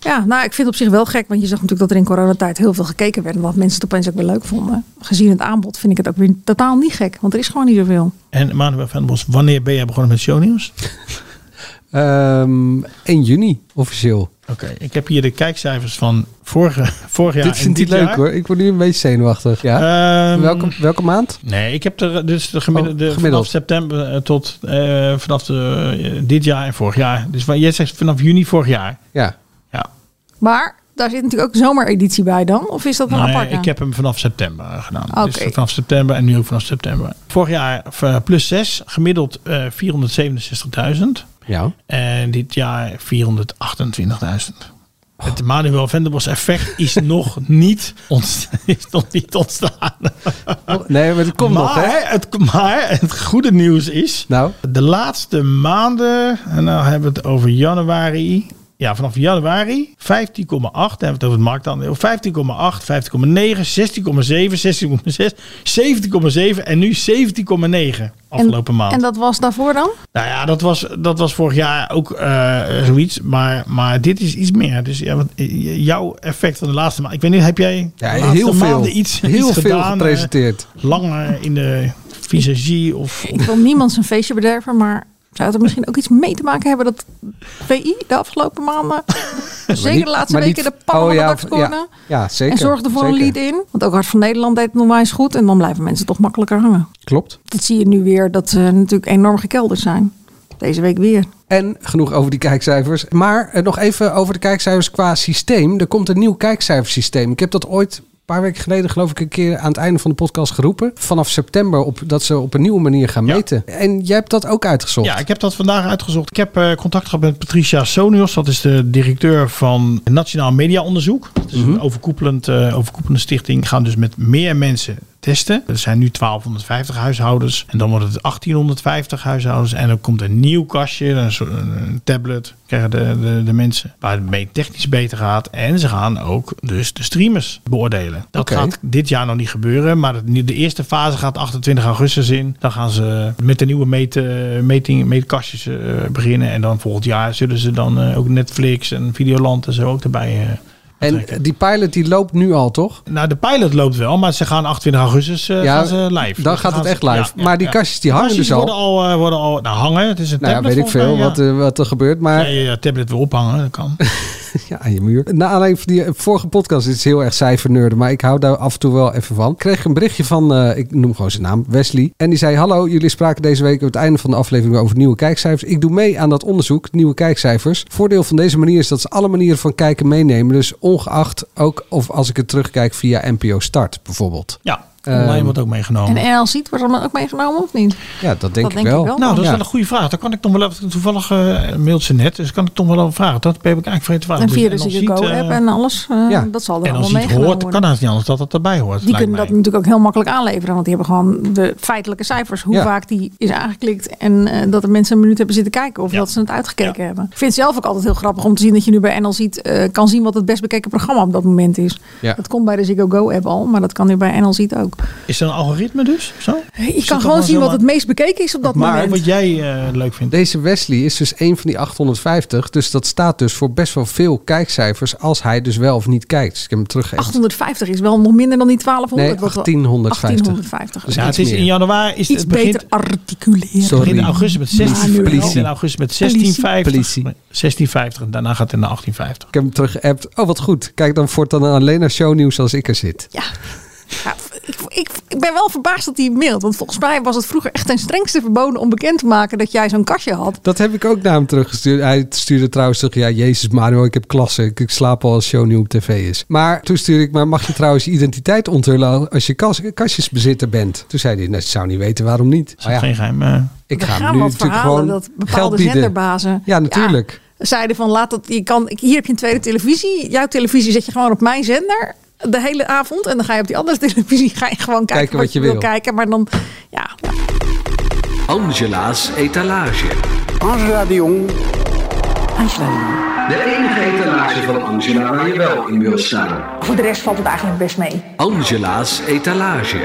Speaker 2: Ja, nou, ik vind het op zich wel gek. Want je zag natuurlijk dat er in coronatijd heel veel gekeken werd. En dat mensen het opeens ook weer leuk vonden. Gezien het aanbod vind ik het ook weer totaal niet gek. Want er is gewoon niet zoveel.
Speaker 3: En Manuel van den Bos, wanneer ben jij begonnen met shownieuws?
Speaker 4: Ehm 1 juni officieel.
Speaker 3: Oké, ik heb hier de kijkcijfers van vorige, vorig jaar.
Speaker 4: dit
Speaker 3: en
Speaker 4: vindt hij leuk
Speaker 3: jaar.
Speaker 4: hoor. Ik word nu een beetje zenuwachtig. Ja?
Speaker 3: Ehm,
Speaker 4: welke, welke maand?
Speaker 3: Nee, ik heb er dus de gemiddelde,
Speaker 4: Oh, gemiddeld.
Speaker 3: vanaf september eh, tot eh, vanaf de, eh, dit jaar en vorig jaar. Dus wat jij zegt vanaf juni vorig jaar.
Speaker 4: Ja.
Speaker 3: Ja.
Speaker 2: Maar daar zit natuurlijk ook een zomereditie bij dan. Of is dat een
Speaker 3: Nee,
Speaker 2: apart?
Speaker 3: ik heb hem vanaf september gedaan.
Speaker 2: Oké.
Speaker 3: Dus vanaf september en nu ook vanaf september. Vorig jaar eh, plus 6, gemiddeld eh, 467.000.
Speaker 4: Ja.
Speaker 3: En dit jaar 428.000. Het Manuel Venderbos effect is nog niet, ont- is nog niet ontstaan.
Speaker 4: Oh, Nee, maar het komt
Speaker 3: Ah. maar,
Speaker 4: nog hè.
Speaker 3: Het, maar het goede nieuws is...
Speaker 4: Nou.
Speaker 3: De laatste maanden, en nou hebben we het over januari... Ja, vanaf januari 15,8. Dan hebben we het over het marktaandeel. 15,8, 15,9, 16,7, 16,6, 17,7 en nu 17,9 afgelopen maand.
Speaker 2: En dat was daarvoor dan?
Speaker 3: Nou ja, dat was, dat was vorig jaar ook eh, zoiets. Maar, maar dit is iets meer. Dus ja, want, eh, jouw effect van de laatste maand. Ik weet niet, heb jij de
Speaker 4: Ja,
Speaker 3: laatste
Speaker 4: heel veel.
Speaker 3: maanden iets,
Speaker 4: heel
Speaker 3: iets
Speaker 4: veel
Speaker 3: gedaan, eh,
Speaker 4: gepresenteerd.
Speaker 3: langer in de visagie of...
Speaker 2: Ik wil niemand zijn feestje bederven, maar zou het er misschien ook iets mee te maken hebben dat VI de afgelopen maanden, zeker
Speaker 4: niet-
Speaker 2: de laatste
Speaker 4: maar
Speaker 2: weken,
Speaker 4: niet-
Speaker 2: de pannen
Speaker 4: oh
Speaker 2: van de
Speaker 4: ja,
Speaker 2: dak
Speaker 4: ja,
Speaker 2: scoorden?
Speaker 4: ja, zeker,
Speaker 2: En zorgde voor een
Speaker 4: zeker.
Speaker 2: lead in. Want ook Hart van Nederland deed het onwijs goed. En dan blijven mensen toch makkelijker hangen.
Speaker 4: Klopt.
Speaker 2: Dat zie je nu weer, dat ze natuurlijk enorm gekelderd zijn. Deze week weer.
Speaker 4: En genoeg over die kijkcijfers. Maar eh, nog even over de kijkcijfers qua systeem. Er komt een nieuw kijkcijfersysteem. Ik heb dat ooit een paar weken geleden, geloof ik, een keer aan het einde van de podcast geroepen. Vanaf september op, dat ze op een nieuwe manier gaan meten. En jij hebt dat ook uitgezocht.
Speaker 3: Ja, ik heb dat vandaag uitgezocht. Ik heb eh, contact gehad met Patricia Sonios. Dat is de directeur van Nationaal Media Onderzoek. Dat is een overkoepelend, eh, overkoepelende stichting. Gaan dus met meer mensen testen. Er zijn nu 1250 huishoudens. En dan wordt het 1850 huishoudens. En dan komt een nieuw kastje, een, soort- een tablet. Krijgen de, de, de mensen waar het mee technisch beter gaat. En ze gaan ook dus de streamers beoordelen. Dat
Speaker 4: Oké.
Speaker 3: gaat dit jaar nog niet gebeuren. Maar het- de eerste fase gaat 28 augustus in. Dan gaan ze met de nieuwe meet, eh, meting, meetkastjes eh, beginnen. En dan volgend jaar zullen ze dan eh, ook Netflix en Videoland en zo ook erbij. eh.
Speaker 4: en die pilot die loopt nu al, toch?
Speaker 3: nou, de pilot loopt wel, maar ze gaan 28 augustus eh,
Speaker 4: Ja,
Speaker 3: gaan ze live.
Speaker 4: dan
Speaker 3: Dus
Speaker 4: gaat het
Speaker 3: gaan
Speaker 4: echt
Speaker 3: ze-
Speaker 4: live. Maar die kastjes, die
Speaker 3: De
Speaker 4: hangen
Speaker 3: kastjes
Speaker 4: dus al.
Speaker 3: worden al, eh, worden al nou, hangen. Het is een
Speaker 4: Nou ja,
Speaker 3: tablet.
Speaker 4: weet ik veel
Speaker 3: volgens mij,
Speaker 4: wat, eh, wat er gebeurt.
Speaker 3: ja.
Speaker 4: Maar
Speaker 3: Ja, ja, ja, tablet wil ophangen, dat kan.
Speaker 4: Ja, aan je muur. Na aanleiding van die eh, vorige podcast, dit is heel erg cijferneurden, maar ik hou daar af en toe wel even van. Ik kreeg een berichtje van, eh, ik noem gewoon zijn naam, Wesley. En die zei, hallo, jullie spraken deze week op het einde van de aflevering over nieuwe kijkcijfers. Ik doe mee aan dat onderzoek, nieuwe kijkcijfers. Voordeel van deze manier is dat ze alle manieren van kijken meenemen. Dus ongeacht ook of als ik het terugkijk via NPO Start bijvoorbeeld.
Speaker 3: Ja, online
Speaker 4: Ehm,
Speaker 3: wordt ook meegenomen.
Speaker 2: En NL ziet wordt dan ook meegenomen of niet?
Speaker 4: Ja, dat denk,
Speaker 2: Dat denk ik wel.
Speaker 3: Nou, dat is
Speaker 4: Ja.
Speaker 3: wel een goede vraag. Daar kan ik toch wel even, toevallig eh mailt ze net, dus kan ik toch wel even vragen. Dat heb ik eigenlijk vergeten te vragen.
Speaker 2: en
Speaker 3: Dus
Speaker 2: via de
Speaker 3: NLZ, eh,
Speaker 2: Go-app en alles. eh,
Speaker 3: ja.
Speaker 2: Dat zal er
Speaker 3: En
Speaker 2: allemaal
Speaker 3: als je het
Speaker 2: meegenomen
Speaker 3: hoort,
Speaker 2: worden.
Speaker 3: kan het niet anders dat het erbij hoort.
Speaker 2: Die
Speaker 3: lijkt
Speaker 2: kunnen
Speaker 3: mij.
Speaker 2: dat natuurlijk ook heel makkelijk aanleveren. Want die hebben gewoon de feitelijke cijfers. Hoe
Speaker 3: Ja.
Speaker 2: vaak die is aangeklikt. En eh, dat de mensen een minuut hebben zitten kijken. Of dat ze het uitgekeken hebben. Ik vind het zelf ook altijd heel grappig om te zien dat je nu bij NL ziet. eh, kan zien wat het best bekeken programma op dat moment is.
Speaker 3: Ja.
Speaker 2: Dat komt bij de Ziggo Go app al. Maar dat kan nu bij NL ziet ook.
Speaker 3: Is er een algoritme dus? Zo?
Speaker 2: Je kan gewoon zien wat het meest bekeken is op dat
Speaker 3: Maar
Speaker 2: moment.
Speaker 3: wat jij eh, leuk vindt.
Speaker 4: Deze Wesley is dus een van die 850. Dus dat staat dus voor best wel veel kijkcijfers als hij dus wel of niet kijkt. Dus ik heb hem teruggegeven.
Speaker 2: 850 is wel nog minder dan die 1200.
Speaker 4: Nee,
Speaker 2: wat we-
Speaker 4: 1850.
Speaker 2: 1850.
Speaker 4: Dus
Speaker 3: Ja,
Speaker 4: iets
Speaker 3: het is
Speaker 4: meer.
Speaker 3: in januari is het,
Speaker 2: Iets
Speaker 3: het begint,
Speaker 2: beter articuleren.
Speaker 3: het begint in augustus met 16
Speaker 4: Politie.
Speaker 3: euro, in augustus met
Speaker 4: Politie.
Speaker 3: 1650.
Speaker 4: Politie.
Speaker 3: 1650 en daarna gaat het naar 1850.
Speaker 4: Ik heb hem teruggeappt. Oh, wat goed. Kijk dan voortaan alleen naar shownieuws als ik er zit.
Speaker 2: Ja, ik, ik, ik ben wel verbaasd dat hij mailt. Want volgens mij was het vroeger echt ten strengste verboden om bekend te maken dat jij zo'n kastje had.
Speaker 4: Dat heb ik ook naar hem teruggestuurd. Hij stuurde trouwens terug, ja, Jezus Manuel, ik heb klasse. Ik, ik slaap al als show nu op tv is. Maar toen stuurde ik, maar mag je trouwens je identiteit onthullen als je kas, kastjesbezitter bent? Toen zei hij, nou, ik zou niet weten waarom niet.
Speaker 3: Dat is geen geheim.
Speaker 2: Oh
Speaker 3: eh.
Speaker 4: Ik
Speaker 2: Er
Speaker 4: ga hem
Speaker 2: gaan
Speaker 4: nu
Speaker 2: wat
Speaker 4: natuurlijk
Speaker 2: verhalen
Speaker 4: gewoon
Speaker 2: dat
Speaker 4: geld
Speaker 2: bepaalde
Speaker 4: bieden.
Speaker 2: zenderbazen.
Speaker 4: Ja, natuurlijk.
Speaker 2: zeiden van laat dat je kan. ik- Hier heb je een tweede televisie. Jouw televisie zet je gewoon op mijn zender de hele avond en dan ga je op die andere televisie ga je gewoon kijken,
Speaker 12: Kijken wat je wil.
Speaker 2: kijken. Maar dan ja,
Speaker 12: Angela's etalage.
Speaker 15: Angela de Jong.
Speaker 12: De enige etalage van Angela waar je wel in wilt staan.
Speaker 16: Voor de rest valt het eigenlijk best mee.
Speaker 12: Angela's etalage.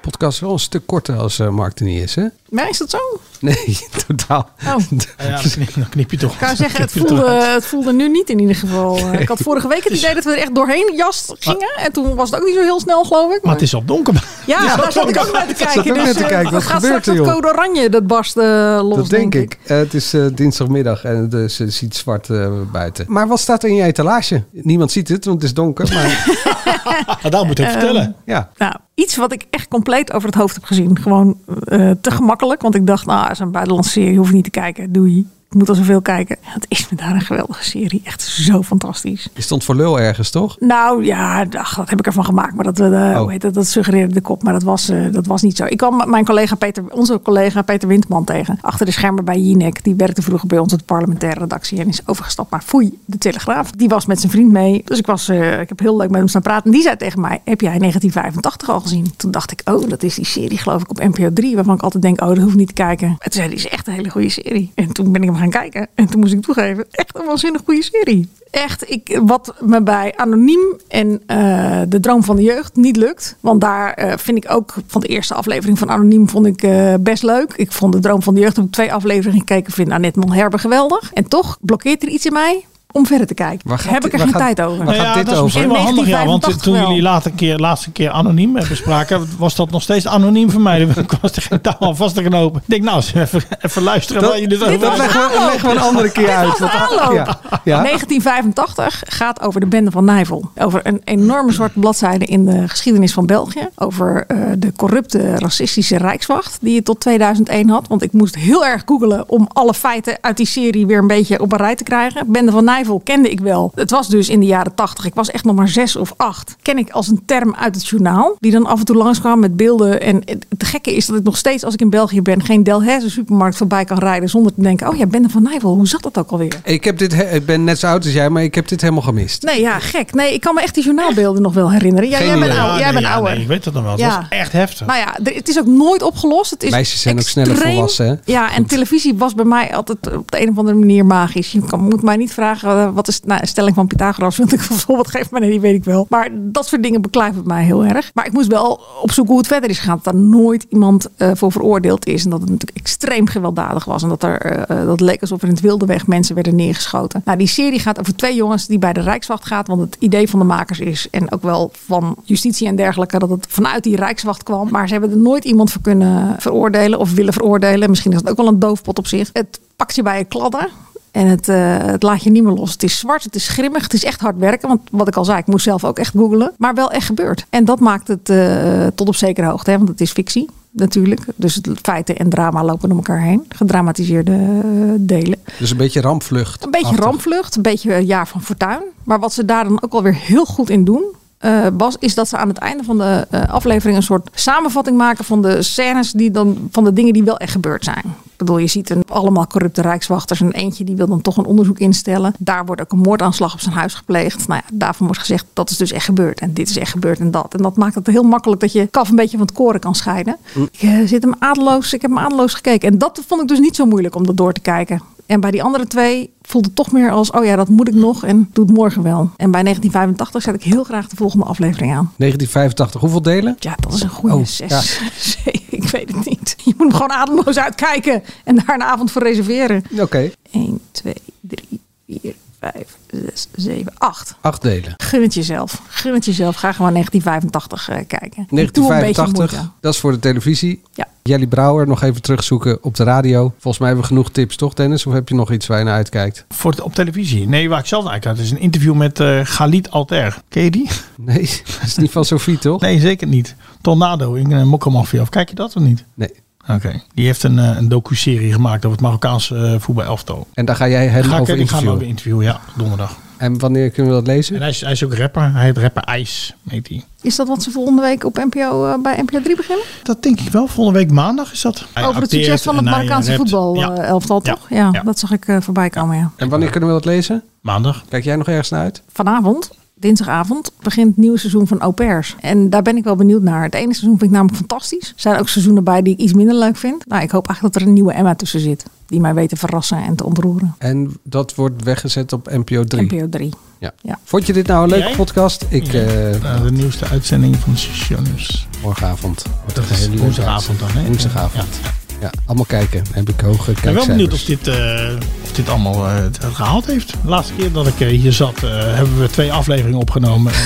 Speaker 4: Podcast is wel een stuk korter als eh, Mark er niet is, hè?
Speaker 2: maar is dat zo?
Speaker 4: Nee, totaal.
Speaker 2: Oh.
Speaker 3: Ja, dan knip- dan knip je toch.
Speaker 2: Ik zou zeggen, het eh,
Speaker 3: knip je toch
Speaker 2: voelde,
Speaker 3: uit.
Speaker 2: het voelde nu niet in ieder geval. Eh, Ik had vorige week het
Speaker 3: Het is-
Speaker 2: idee dat we er echt doorheen jas gingen. En toen was het ook niet zo heel snel, geloof ik.
Speaker 3: Maar het is al donker.
Speaker 2: Ja,
Speaker 3: Het is al
Speaker 2: daar zat ik ook
Speaker 3: donker.
Speaker 2: naar te
Speaker 3: Ik zat
Speaker 2: kijken.
Speaker 4: ook
Speaker 2: dus,
Speaker 4: naar te
Speaker 2: eh,
Speaker 4: kijken. Wat
Speaker 2: het gaat
Speaker 4: gebeurt
Speaker 2: straks
Speaker 4: er,
Speaker 2: dat
Speaker 4: joh?
Speaker 2: code oranje, dat barst eh, los,
Speaker 4: Dat denk ik. Eh, het is eh, dinsdagmiddag en het is, het ziet zwart eh, buiten. Maar wat staat er in je etalage? Niemand ziet het, want het is donker. Maar...
Speaker 3: dat Nou, moet
Speaker 2: Ehm, vertellen.
Speaker 4: Ja.
Speaker 2: Nou, iets wat ik echt compleet over het hoofd heb gezien. Gewoon eh, te gemakkelijk. Want ik dacht, nou, het is een buitenlandse serie. Hoef ik niet te kijken. Doei. Ik moet al zoveel kijken. Het is me daar een geweldige serie. Echt zo fantastisch.
Speaker 4: Je stond voor lul ergens, toch?
Speaker 2: Nou ja, ach, dat heb ik ervan gemaakt. Maar dat, eh, hoe heet dat, dat suggereerde de kop. Maar dat was, eh, dat was niet zo. Ik kwam mijn collega Peter, onze collega Peter Windman tegen. Achter de schermen bij Jinek. Die werkte vroeger bij ons op de parlementaire redactie. En is overgestapt naar Foei, de Telegraaf. Die was met zijn vriend mee. Dus ik, was, eh, ik heb heel leuk met hem staan praten. En die zei tegen mij, heb jij 1985 al gezien? Toen dacht ik, oh, dat is die serie geloof ik op NPO 3. Waarvan ik altijd denk, oh, dat hoef ik niet te kijken. En toen zei hij, is echt een hele goede serie. En toen ben ik hem gaan kijken. En toen moest ik toegeven, echt een waanzinnig goede serie. Echt, ik, wat me bij Anoniem en eh, De Droom van de Jeugd niet lukt. Want daar eh, vind ik ook van de eerste aflevering van Anoniem vond ik eh, best leuk. Ik vond De Droom van de Jeugd, heb ik twee afleveringen gekeken. Vind Annette Monherbe geweldig. En toch blokkeert er iets in mij om verder te kijken.
Speaker 4: Waar gaat
Speaker 2: heb
Speaker 4: dit-
Speaker 2: ik er
Speaker 4: waar
Speaker 2: geen
Speaker 4: gaat-
Speaker 2: tijd over.
Speaker 4: waar gaat
Speaker 3: Nou ja,
Speaker 4: dit
Speaker 3: dat is
Speaker 4: over?
Speaker 3: misschien wel
Speaker 2: In
Speaker 3: handig, ja. Want eh,
Speaker 2: 1985
Speaker 3: toen
Speaker 2: wel.
Speaker 3: jullie later keer, laatste keer anoniem hebben spraken, was dat nog steeds anoniem voor mij. Ik was er geen touw aan vast te knopen. Ik denk, nou, eens even, even luisteren.
Speaker 4: Dat-
Speaker 3: waar je dit
Speaker 4: dit
Speaker 3: over
Speaker 4: was
Speaker 3: hebt.
Speaker 4: aanloop. leggen we- leggen we een andere keer
Speaker 2: Dit
Speaker 4: uit,
Speaker 2: was de
Speaker 4: want-
Speaker 2: aanloop.
Speaker 4: ja, ja.
Speaker 2: 1985 gaat over de bende van Nijvel. Over een enorme zwarte bladzijde in de geschiedenis van België. Over eh, de corrupte racistische rijkswacht die je tot 2001 had. Want ik moest heel erg googelen om alle feiten uit die serie weer een beetje op een rij te krijgen. Bende van Nijvel kende ik wel. Het was dus in de jaren 80. Ik was echt nog maar zes of acht. Ken ik als een term uit het journaal. Die dan af en toe langskwam met beelden. En het het gekke is dat ik nog steeds als ik in België ben geen Delhaize supermarkt voorbij kan rijden. Zonder te denken, oh ja, Bende van Nijvel, hoe zat dat ook alweer?
Speaker 4: Ik, heb dit, he- ik ben net zo oud als jij, maar ik heb dit helemaal gemist.
Speaker 2: Nee, ja, gek. Nee, ik kan me echt die journaalbeelden nog wel herinneren. Ja,
Speaker 4: Geen
Speaker 2: jij
Speaker 3: Ah,
Speaker 2: bent
Speaker 4: idee.
Speaker 2: ouder.
Speaker 4: Ja,
Speaker 2: jij
Speaker 4: nee,
Speaker 2: bent
Speaker 4: ja,
Speaker 2: ouder.
Speaker 4: nee,
Speaker 3: Ik weet dat nog wel.
Speaker 2: Ja.
Speaker 3: Dat was echt heftig.
Speaker 2: Nou ja, er- het is ook nooit opgelost. Het is
Speaker 4: Meisjes zijn ook sneller
Speaker 2: extreem-
Speaker 4: volwassen, hè?
Speaker 2: Ja, en televisie was bij mij altijd op de een of andere manier magisch. Je kan, moet mij niet vragen, eh, wat is nou, een stelling van Pythagoras? Want ik bijvoorbeeld geef maar nee, die weet ik wel. Maar dat soort dingen beklijven mij heel erg. Maar ik moest wel opzoeken hoe het verder is gegaan. Dat daar nooit iemand eh, voor veroordeeld is. En dat het natuurlijk extreem gewelddadig was. En dat, er, eh, eh, dat leek alsof er in het wilde weg mensen werden neergeschoten. Nou, die serie gaat over twee jongens die bij de Rijkswacht gaat. Want het idee van de makers is, en ook wel van justitie en dergelijke, dat het vanuit die Rijkswacht kwam. Maar ze hebben er nooit iemand voor kunnen veroordelen of willen veroordelen. Misschien is dat ook wel een doofpot op zich. Het pakt je bij je kladden. En het, eh, het laat je niet meer los. Het is zwart, het is grimmig, het is echt hard werken. Want wat ik al zei, ik moest zelf ook echt googlen. Maar wel echt gebeurd. En dat maakt het eh, tot op zekere hoogte. Hè, want het is fictie natuurlijk. Dus het, feiten en drama lopen om elkaar heen. Gedramatiseerde eh, delen.
Speaker 4: Dus een beetje rampvlucht.
Speaker 2: Een beetje rampvlucht, een beetje een jaar van fortuin. Maar wat ze daar dan ook alweer heel goed in doen. eh, Bas, is dat ze aan het einde van de eh, aflevering een soort samenvatting maken van de scènes die dan van de dingen die wel echt gebeurd zijn. Ik bedoel, je ziet een, allemaal corrupte rijkswachters en eentje die wil dan toch een onderzoek instellen. Daar wordt ook een moordaanslag op zijn huis gepleegd. Nou ja, daarvan wordt gezegd dat is dus echt gebeurd en dit is echt gebeurd en dat. En dat maakt het heel makkelijk dat je kaf een beetje van het koren kan scheiden. Ik eh, zit hem adeloos, ik heb hem adeloos gekeken. En dat vond ik dus niet zo moeilijk om dat door te kijken. En bij die andere twee voelde het toch meer als: oh ja, dat moet ik nog en doe het morgen wel. En bij 1985 zet ik heel graag de volgende aflevering aan.
Speaker 4: 1985, hoeveel delen?
Speaker 2: Ja, dat is een goede
Speaker 4: Oh,
Speaker 2: zes.
Speaker 4: ja.
Speaker 2: Zee, ik weet het niet. Je moet hem gewoon ademloos uitkijken en daar een avond voor reserveren.
Speaker 4: Oké.
Speaker 2: 1, 2, 3, 4, 5, 6, 7, 8.
Speaker 4: Acht delen.
Speaker 2: Gun het jezelf. Gun het jezelf. Ga gewoon 1985 eh, kijken. Ik doe een beetje moeite.
Speaker 4: 1985, dat is voor de televisie.
Speaker 2: Ja.
Speaker 4: Jelly Brouwer nog even terugzoeken op de radio. Volgens mij hebben we genoeg tips, toch Dennis? Of heb je nog iets waar je naar uitkijkt?
Speaker 3: Voor het- op televisie. Nee, waar ik zelf naar uitkijk. Het is een interview met eh Galit Alter. Ken je die?
Speaker 4: Nee, dat is niet van Sofie, toch?
Speaker 3: Nee, zeker niet. Tornado in uh, Mokkomafia. Of kijk je dat of niet?
Speaker 4: Nee.
Speaker 3: Oké. Die heeft een, eh, een docu-serie gemaakt over het Marokkaanse eh, voetbalelftal.
Speaker 4: En daar ga jij hem
Speaker 3: Ga ik-
Speaker 4: over
Speaker 3: ik ga hem
Speaker 4: interviewen?
Speaker 3: over interviewen, ja. Donderdag.
Speaker 4: En wanneer kunnen we dat lezen?
Speaker 3: En hij is, hij is ook rapper. Hij heet rapper IJs, heet hij.
Speaker 2: Is dat wat ze volgende week op NPO eh, bij NPO 3 beginnen?
Speaker 3: Dat denk ik wel. Volgende week maandag is dat. Hij
Speaker 2: Over het
Speaker 3: acteert
Speaker 2: succes van
Speaker 3: en
Speaker 2: het
Speaker 3: hij
Speaker 2: Marokkaanse eh,
Speaker 3: rapt. Ja.
Speaker 2: voetbalelftal,
Speaker 3: Ja.
Speaker 2: toch? Ja,
Speaker 3: Ja.
Speaker 2: dat zag ik eh, voorbij komen, ja.
Speaker 4: En wanneer kunnen we dat lezen?
Speaker 3: Maandag.
Speaker 4: Kijk jij nog ergens naar uit?
Speaker 2: Vanavond, dinsdagavond, begint het nieuwe seizoen van Au Pairs. En daar ben ik wel benieuwd naar. Het ene seizoen vind ik namelijk fantastisch. Er zijn ook seizoenen bij die ik iets minder leuk vind. Nou, ik hoop eigenlijk dat er een nieuwe Emma tussen zit. Die mij weet te verrassen en te ontroeren.
Speaker 4: En dat wordt weggezet op NPO 3.
Speaker 2: NPO 3.
Speaker 4: Ja.
Speaker 2: Ja.
Speaker 4: Vond je dit nou een leuke
Speaker 3: Jij?
Speaker 4: podcast? Ik eh,
Speaker 3: Eh, de nieuwste uitzending van Sission News.
Speaker 4: morgenavond.
Speaker 3: Dat
Speaker 4: Een
Speaker 3: is
Speaker 4: hele leuke
Speaker 3: woensdagavond dan, hè?
Speaker 4: Woensdagavond.
Speaker 3: Ja.
Speaker 4: Ja. allemaal kijken. Heb ik hoge
Speaker 3: Ik ben wel benieuwd of
Speaker 4: kijkcijfers.
Speaker 3: dit, eh, of dit allemaal eh, het gehaald heeft. De laatste keer dat ik eh, hier zat, eh, hebben we twee afleveringen opgenomen.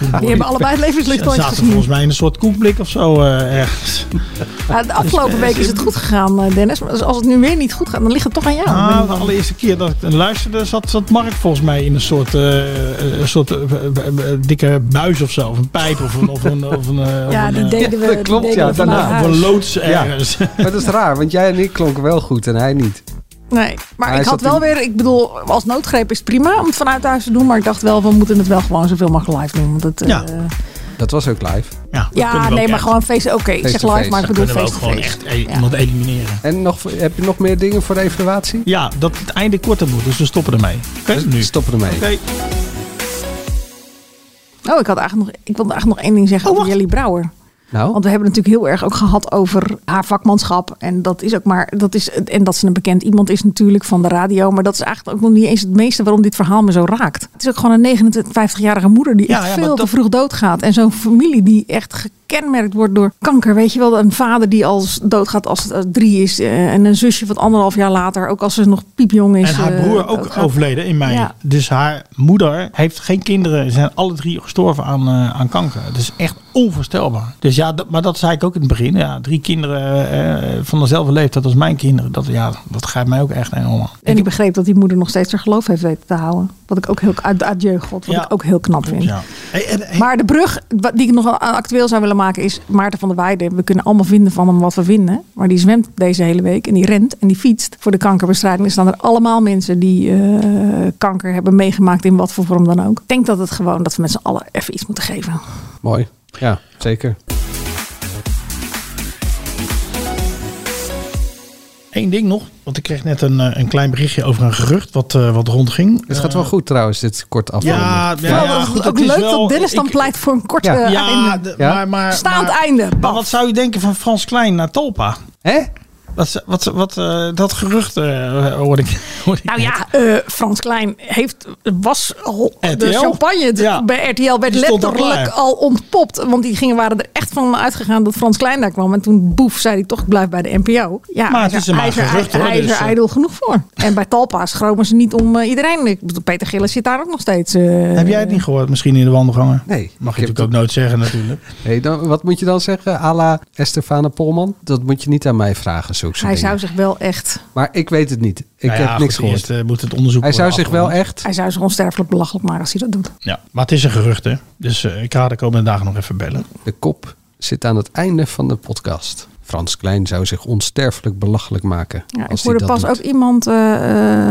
Speaker 3: En, eh, toen
Speaker 2: Die hebben allebei het levenslicht nooit
Speaker 3: zaten
Speaker 2: gezien.
Speaker 3: volgens mij in een soort koekblik of zo eh, ergens.
Speaker 2: Ja, de afgelopen week is het goed gegaan, eh, Dennis. Maar als het nu weer niet goed gaat, dan ligt het toch aan jou. Ik
Speaker 3: Ah,
Speaker 2: ben
Speaker 3: de
Speaker 2: bang.
Speaker 3: allereerste keer dat ik er luisterde, zat, zat Mark volgens mij in een soort, eh, een soort eh, eh, eh, dikke buis of zo. Of een pijp of een... Of een, of een eh,
Speaker 2: Ja,
Speaker 3: of een,
Speaker 2: die
Speaker 3: eh,
Speaker 2: deden we.
Speaker 4: dat
Speaker 2: die
Speaker 4: klopt,
Speaker 2: deden
Speaker 4: ja,
Speaker 2: we vanuit
Speaker 4: daarna.
Speaker 2: huis.
Speaker 3: of een loods
Speaker 4: Ja.
Speaker 3: ergens.
Speaker 4: Maar dat is raar, want jij en ik klonken wel goed en hij niet.
Speaker 2: Nee, maar
Speaker 4: Hij
Speaker 2: ik had
Speaker 4: zat
Speaker 2: wel
Speaker 4: in-
Speaker 2: weer, ik bedoel, als noodgreep is het prima om het vanuit huis te doen. Maar ik dacht wel, we moeten het wel gewoon zoveel mogelijk live doen. Want het, eh,
Speaker 3: Ja.
Speaker 2: ja,
Speaker 4: Dat was ook live.
Speaker 3: Ja, dat kunnen we
Speaker 2: nee,
Speaker 3: ook
Speaker 2: maar
Speaker 3: echt.
Speaker 2: gewoon face, oké, ik zeg
Speaker 4: Face-to-face.
Speaker 2: live, maar ik
Speaker 3: Dan
Speaker 2: bedoel
Speaker 3: kunnen we ook gewoon
Speaker 2: face-to-face.
Speaker 3: echt eh, iemand elimineren.
Speaker 4: En nog, heb je nog meer dingen voor de evaluatie?
Speaker 3: Ja, dat het einde korter moet, dus we stoppen ermee. Oké, nu.
Speaker 4: Dus stoppen ermee.
Speaker 3: Oké.
Speaker 2: Oh, ik, had eigenlijk nog, ik wilde eigenlijk nog één ding
Speaker 3: Oh,
Speaker 2: zeggen over Jelly Brouwer.
Speaker 4: Nou,
Speaker 2: Want we hebben het natuurlijk heel erg ook gehad over haar vakmanschap. En dat is ook maar. Dat is, en dat ze een bekend iemand is natuurlijk van de radio. Maar dat is eigenlijk ook nog niet eens het meeste waarom dit verhaal me zo raakt. Het is ook gewoon een 59-jarige moeder die
Speaker 3: Ja,
Speaker 2: echt
Speaker 3: ja, maar
Speaker 2: veel
Speaker 3: dat-
Speaker 2: te vroeg doodgaat. En zo'n familie die echt gekenmerkt wordt door kanker. Weet je wel, een vader die als doodgaat als het eh, drie is. eh, En een zusje wat anderhalf jaar later, ook als ze nog piepjong is.
Speaker 3: En haar
Speaker 2: eh,
Speaker 3: broer ook
Speaker 2: doodgaat.
Speaker 3: overleden in mei.
Speaker 2: Ja.
Speaker 3: Dus haar moeder heeft geen kinderen. Ze zijn alle drie gestorven aan, eh, aan kanker. Het is echt onvoorstelbaar. Dus ja, dat, maar dat zei ik ook in het begin. Ja, drie kinderen eh, van dezelfde leeftijd als mijn kinderen. Dat, ja, dat grijpt mij ook echt enorm aan.
Speaker 2: En ik begreep dat die moeder nog steeds haar geloof heeft weten te houden. Wat ik ook heel, adieu God, wat
Speaker 3: Ja.
Speaker 2: ik ook heel knap vind.
Speaker 3: Ja. Hey, en- en-
Speaker 2: Maar de brug wa- die ik nog wel eh, actueel zou willen maken is Maarten van der Weijden. We kunnen allemaal vinden van hem wat we vinden. Maar die zwemt deze hele week en die rent en die fietst voor de kankerbestrijding. Er staan er allemaal mensen die eh, kanker hebben meegemaakt in wat voor vorm dan ook. Ik denk dat het gewoon dat we met z'n allen even iets moeten geven.
Speaker 4: mooi. Ja, zeker.
Speaker 3: Eén ding nog, want ik kreeg net een, eh, een klein berichtje over een gerucht wat, eh, wat rondging.
Speaker 4: Het gaat
Speaker 3: Eh,
Speaker 4: wel goed trouwens, dit kort af.
Speaker 3: Ja, ja,
Speaker 2: Wel,
Speaker 3: ja,
Speaker 2: dat-
Speaker 3: goed, het
Speaker 2: ook
Speaker 3: is
Speaker 2: leuk
Speaker 3: wel-
Speaker 2: dat Dennis dan
Speaker 3: ik-
Speaker 2: pleit voor een korte
Speaker 4: Ja.
Speaker 2: eh,
Speaker 3: Ja,
Speaker 2: einde.
Speaker 3: de-
Speaker 4: Ja.
Speaker 3: maar... maar
Speaker 2: Staand
Speaker 3: maar-
Speaker 2: einde.
Speaker 3: Maar wat zou je denken van Frans Klein naar Talpa?
Speaker 4: Hè?
Speaker 3: Wat, wat, wat, eh, dat gerucht eh hoorde ik. hoorde ik
Speaker 2: Nou
Speaker 3: net.
Speaker 2: ja, eh, Frans Klein heeft, was al de
Speaker 3: RTL?
Speaker 2: champagne de-
Speaker 3: Ja.
Speaker 2: bij RTL werd
Speaker 3: Die stond al
Speaker 2: letterlijk
Speaker 3: klaar.
Speaker 2: al ontpopt. Want die gingen, waren er echt van uitgegaan dat Frans Klein daar kwam. En toen boef, zei hij toch, ik blijf bij de NPO. Ja,
Speaker 3: Maar
Speaker 2: hij
Speaker 3: het is er maar
Speaker 2: hij
Speaker 3: een gerucht,
Speaker 2: hij-
Speaker 3: hoor,
Speaker 2: hij is
Speaker 3: dus,
Speaker 2: er
Speaker 3: eh.
Speaker 2: ijdel genoeg voor. En bij Talpa schromen ze niet om eh, iedereen. Ik bedoel, Peter Gillis zit daar ook nog steeds. eh,
Speaker 3: Heb jij het niet gehoord? Misschien in de wandelgangen? Mag
Speaker 4: Nee.
Speaker 3: je
Speaker 4: Ik heb
Speaker 3: natuurlijk ook nooit zeggen natuurlijk.
Speaker 4: Hey, dan, wat moet je dan zeggen, à la Estefane Polman? Dat moet je niet aan mij vragen, zulke soort
Speaker 2: Hij zou
Speaker 4: dingen.
Speaker 2: zich wel echt,
Speaker 4: Maar ik weet het niet. Ik
Speaker 3: Nou ja,
Speaker 4: heb
Speaker 3: goed,
Speaker 4: niks gehoord.
Speaker 3: Eerst, eh, moet het onderzoek
Speaker 4: hij zou
Speaker 3: worden
Speaker 4: zich wel
Speaker 3: afgerond.
Speaker 4: echt...
Speaker 2: hij zou zich onsterfelijk belachelijk maken als hij dat doet.
Speaker 3: Ja, maar het is een gerucht hè. Dus eh, ik ga de komende dagen nog even bellen.
Speaker 4: De kop zit aan het einde van de podcast. Frans Klein zou zich onsterfelijk belachelijk maken.
Speaker 2: Ja, ik
Speaker 4: als hij
Speaker 2: hoorde
Speaker 4: dat
Speaker 2: pas
Speaker 4: doet.
Speaker 2: ook iemand eh,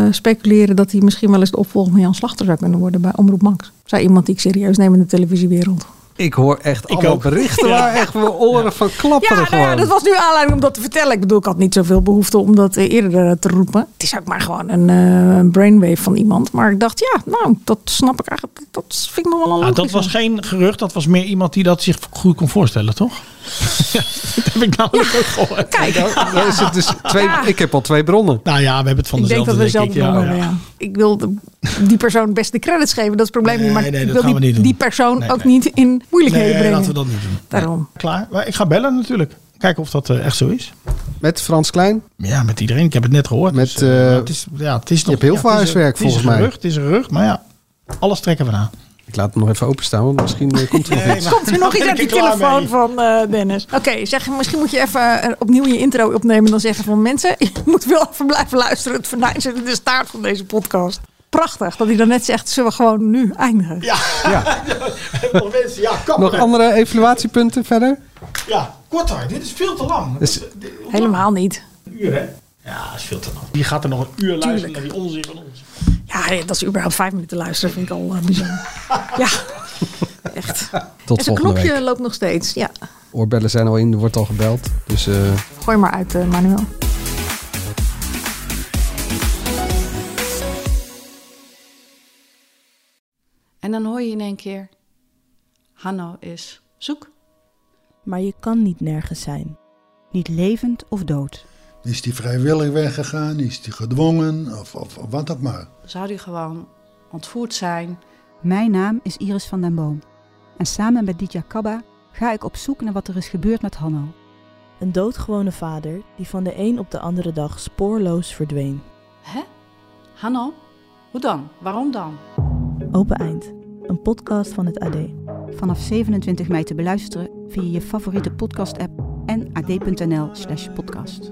Speaker 2: eh, speculeren dat hij misschien wel eens de opvolger van Jan Slachter zou kunnen worden bij Omroep Max. Zij iemand die ik serieus neem in de televisiewereld.
Speaker 4: Ik hoor echt
Speaker 3: Ik
Speaker 4: alle
Speaker 3: ook.
Speaker 4: berichten waar echt mijn oren van
Speaker 2: Ja,
Speaker 4: klapperen
Speaker 2: nou ja,
Speaker 4: gewoon.
Speaker 2: dat was nu aanleiding om dat te vertellen. Ik bedoel, ik had niet zoveel behoefte om dat eh, eerder eh, te roepen. Het is ook maar gewoon een eh, brainwave van iemand. Maar ik dacht, ja, nou, dat snap ik eigenlijk. Dat vind ik nog wel een
Speaker 3: Ah, dat
Speaker 2: logische.
Speaker 3: was geen gerucht, dat was meer iemand die dat zich goed kon voorstellen, toch? dat heb ik namelijk ook gehoord.
Speaker 2: Kijk,
Speaker 4: Dan is het dus twee, Ik heb al twee bronnen.
Speaker 3: Nou ja, we hebben het van
Speaker 2: ik denk
Speaker 3: dezelfde,
Speaker 2: dat we zelf
Speaker 3: ik. Ja,
Speaker 2: nog wel,
Speaker 3: ja.
Speaker 2: ja. Ik wil de- die persoon best de credits geven, dat is het probleem
Speaker 3: Nee,
Speaker 2: niet. Maar
Speaker 3: nee,
Speaker 2: ik
Speaker 3: dat
Speaker 2: wil
Speaker 3: gaan
Speaker 2: die,
Speaker 3: we niet doen.
Speaker 2: die persoon
Speaker 3: Nee,
Speaker 2: ook
Speaker 3: nee.
Speaker 2: niet in moeilijkheden
Speaker 3: Nee,
Speaker 2: brengen.
Speaker 3: laten we dat niet doen.
Speaker 2: Daarom.
Speaker 3: Klaar, maar ik ga bellen natuurlijk. Kijken of dat eh, echt zo is.
Speaker 4: Met Frans Klein.
Speaker 3: Ja, met iedereen. Ik heb het net gehoord.
Speaker 4: Met,
Speaker 3: eh,
Speaker 4: eh,
Speaker 3: het is, ja, het is nog,
Speaker 4: hebt heel
Speaker 3: ja,
Speaker 4: veel
Speaker 3: het is een-
Speaker 4: huiswerk,
Speaker 3: het is een
Speaker 4: volgens mij.
Speaker 3: gerucht, Het is een rug, maar ja, alles trekken we na.
Speaker 4: Ik laat hem nog even openstaan, want misschien eh, komt er nog iets.
Speaker 2: Komt er nog iets uit die telefoon van eh, Dennis? Oké, zeg, misschien moet je even eh, opnieuw je intro opnemen en dan zeggen van mensen, je moet wel even blijven luisteren. Het venijn zit in de staart van deze podcast. Prachtig dat hij dan net zegt, zullen we gewoon nu eindigen?
Speaker 3: Ja,
Speaker 4: Ja.
Speaker 3: Nog mensen, ja, kap
Speaker 4: Nog
Speaker 3: er.
Speaker 4: andere evaluatiepunten verder?
Speaker 3: Ja, korter. Dit is veel te lang.
Speaker 4: Dus-
Speaker 2: helemaal niet.
Speaker 3: Een uur, hè? Ja, dat is veel te lang. Die gaat er nog een uur luisteren
Speaker 2: Tuurlijk.
Speaker 3: naar die onzin van ons.
Speaker 2: Ja, dat is überhaupt vijf minuten luisteren vind ik al eh, bizar. ja, echt.
Speaker 4: Tot
Speaker 2: en zijn
Speaker 4: volgende
Speaker 2: knopje
Speaker 4: week.
Speaker 2: loopt nog steeds. Ja,
Speaker 4: Oorbellen zijn al in, er wordt al gebeld. Dus eh,
Speaker 2: gooi maar uit, eh, Manuel.
Speaker 15: En dan hoor je in één keer: Hanno is zoek. Maar je kan niet nergens zijn. Niet levend of dood.
Speaker 16: Is die vrijwillig weggegaan? Is die gedwongen? Of, of, of wat ook maar.
Speaker 15: Zou die gewoon ontvoerd zijn? Mijn naam is Iris van den Boom. En samen met Ditya Kabba ga ik op zoek naar wat er is gebeurd met Hanno.
Speaker 17: Een doodgewone vader die van de een op de andere dag spoorloos verdween.
Speaker 15: Hanno? Hoe dan? Waarom dan?
Speaker 17: Open Eind, een podcast van het AD.
Speaker 15: Vanaf 27 mei te beluisteren via je favoriete podcast-app en ad.nl/slash podcast.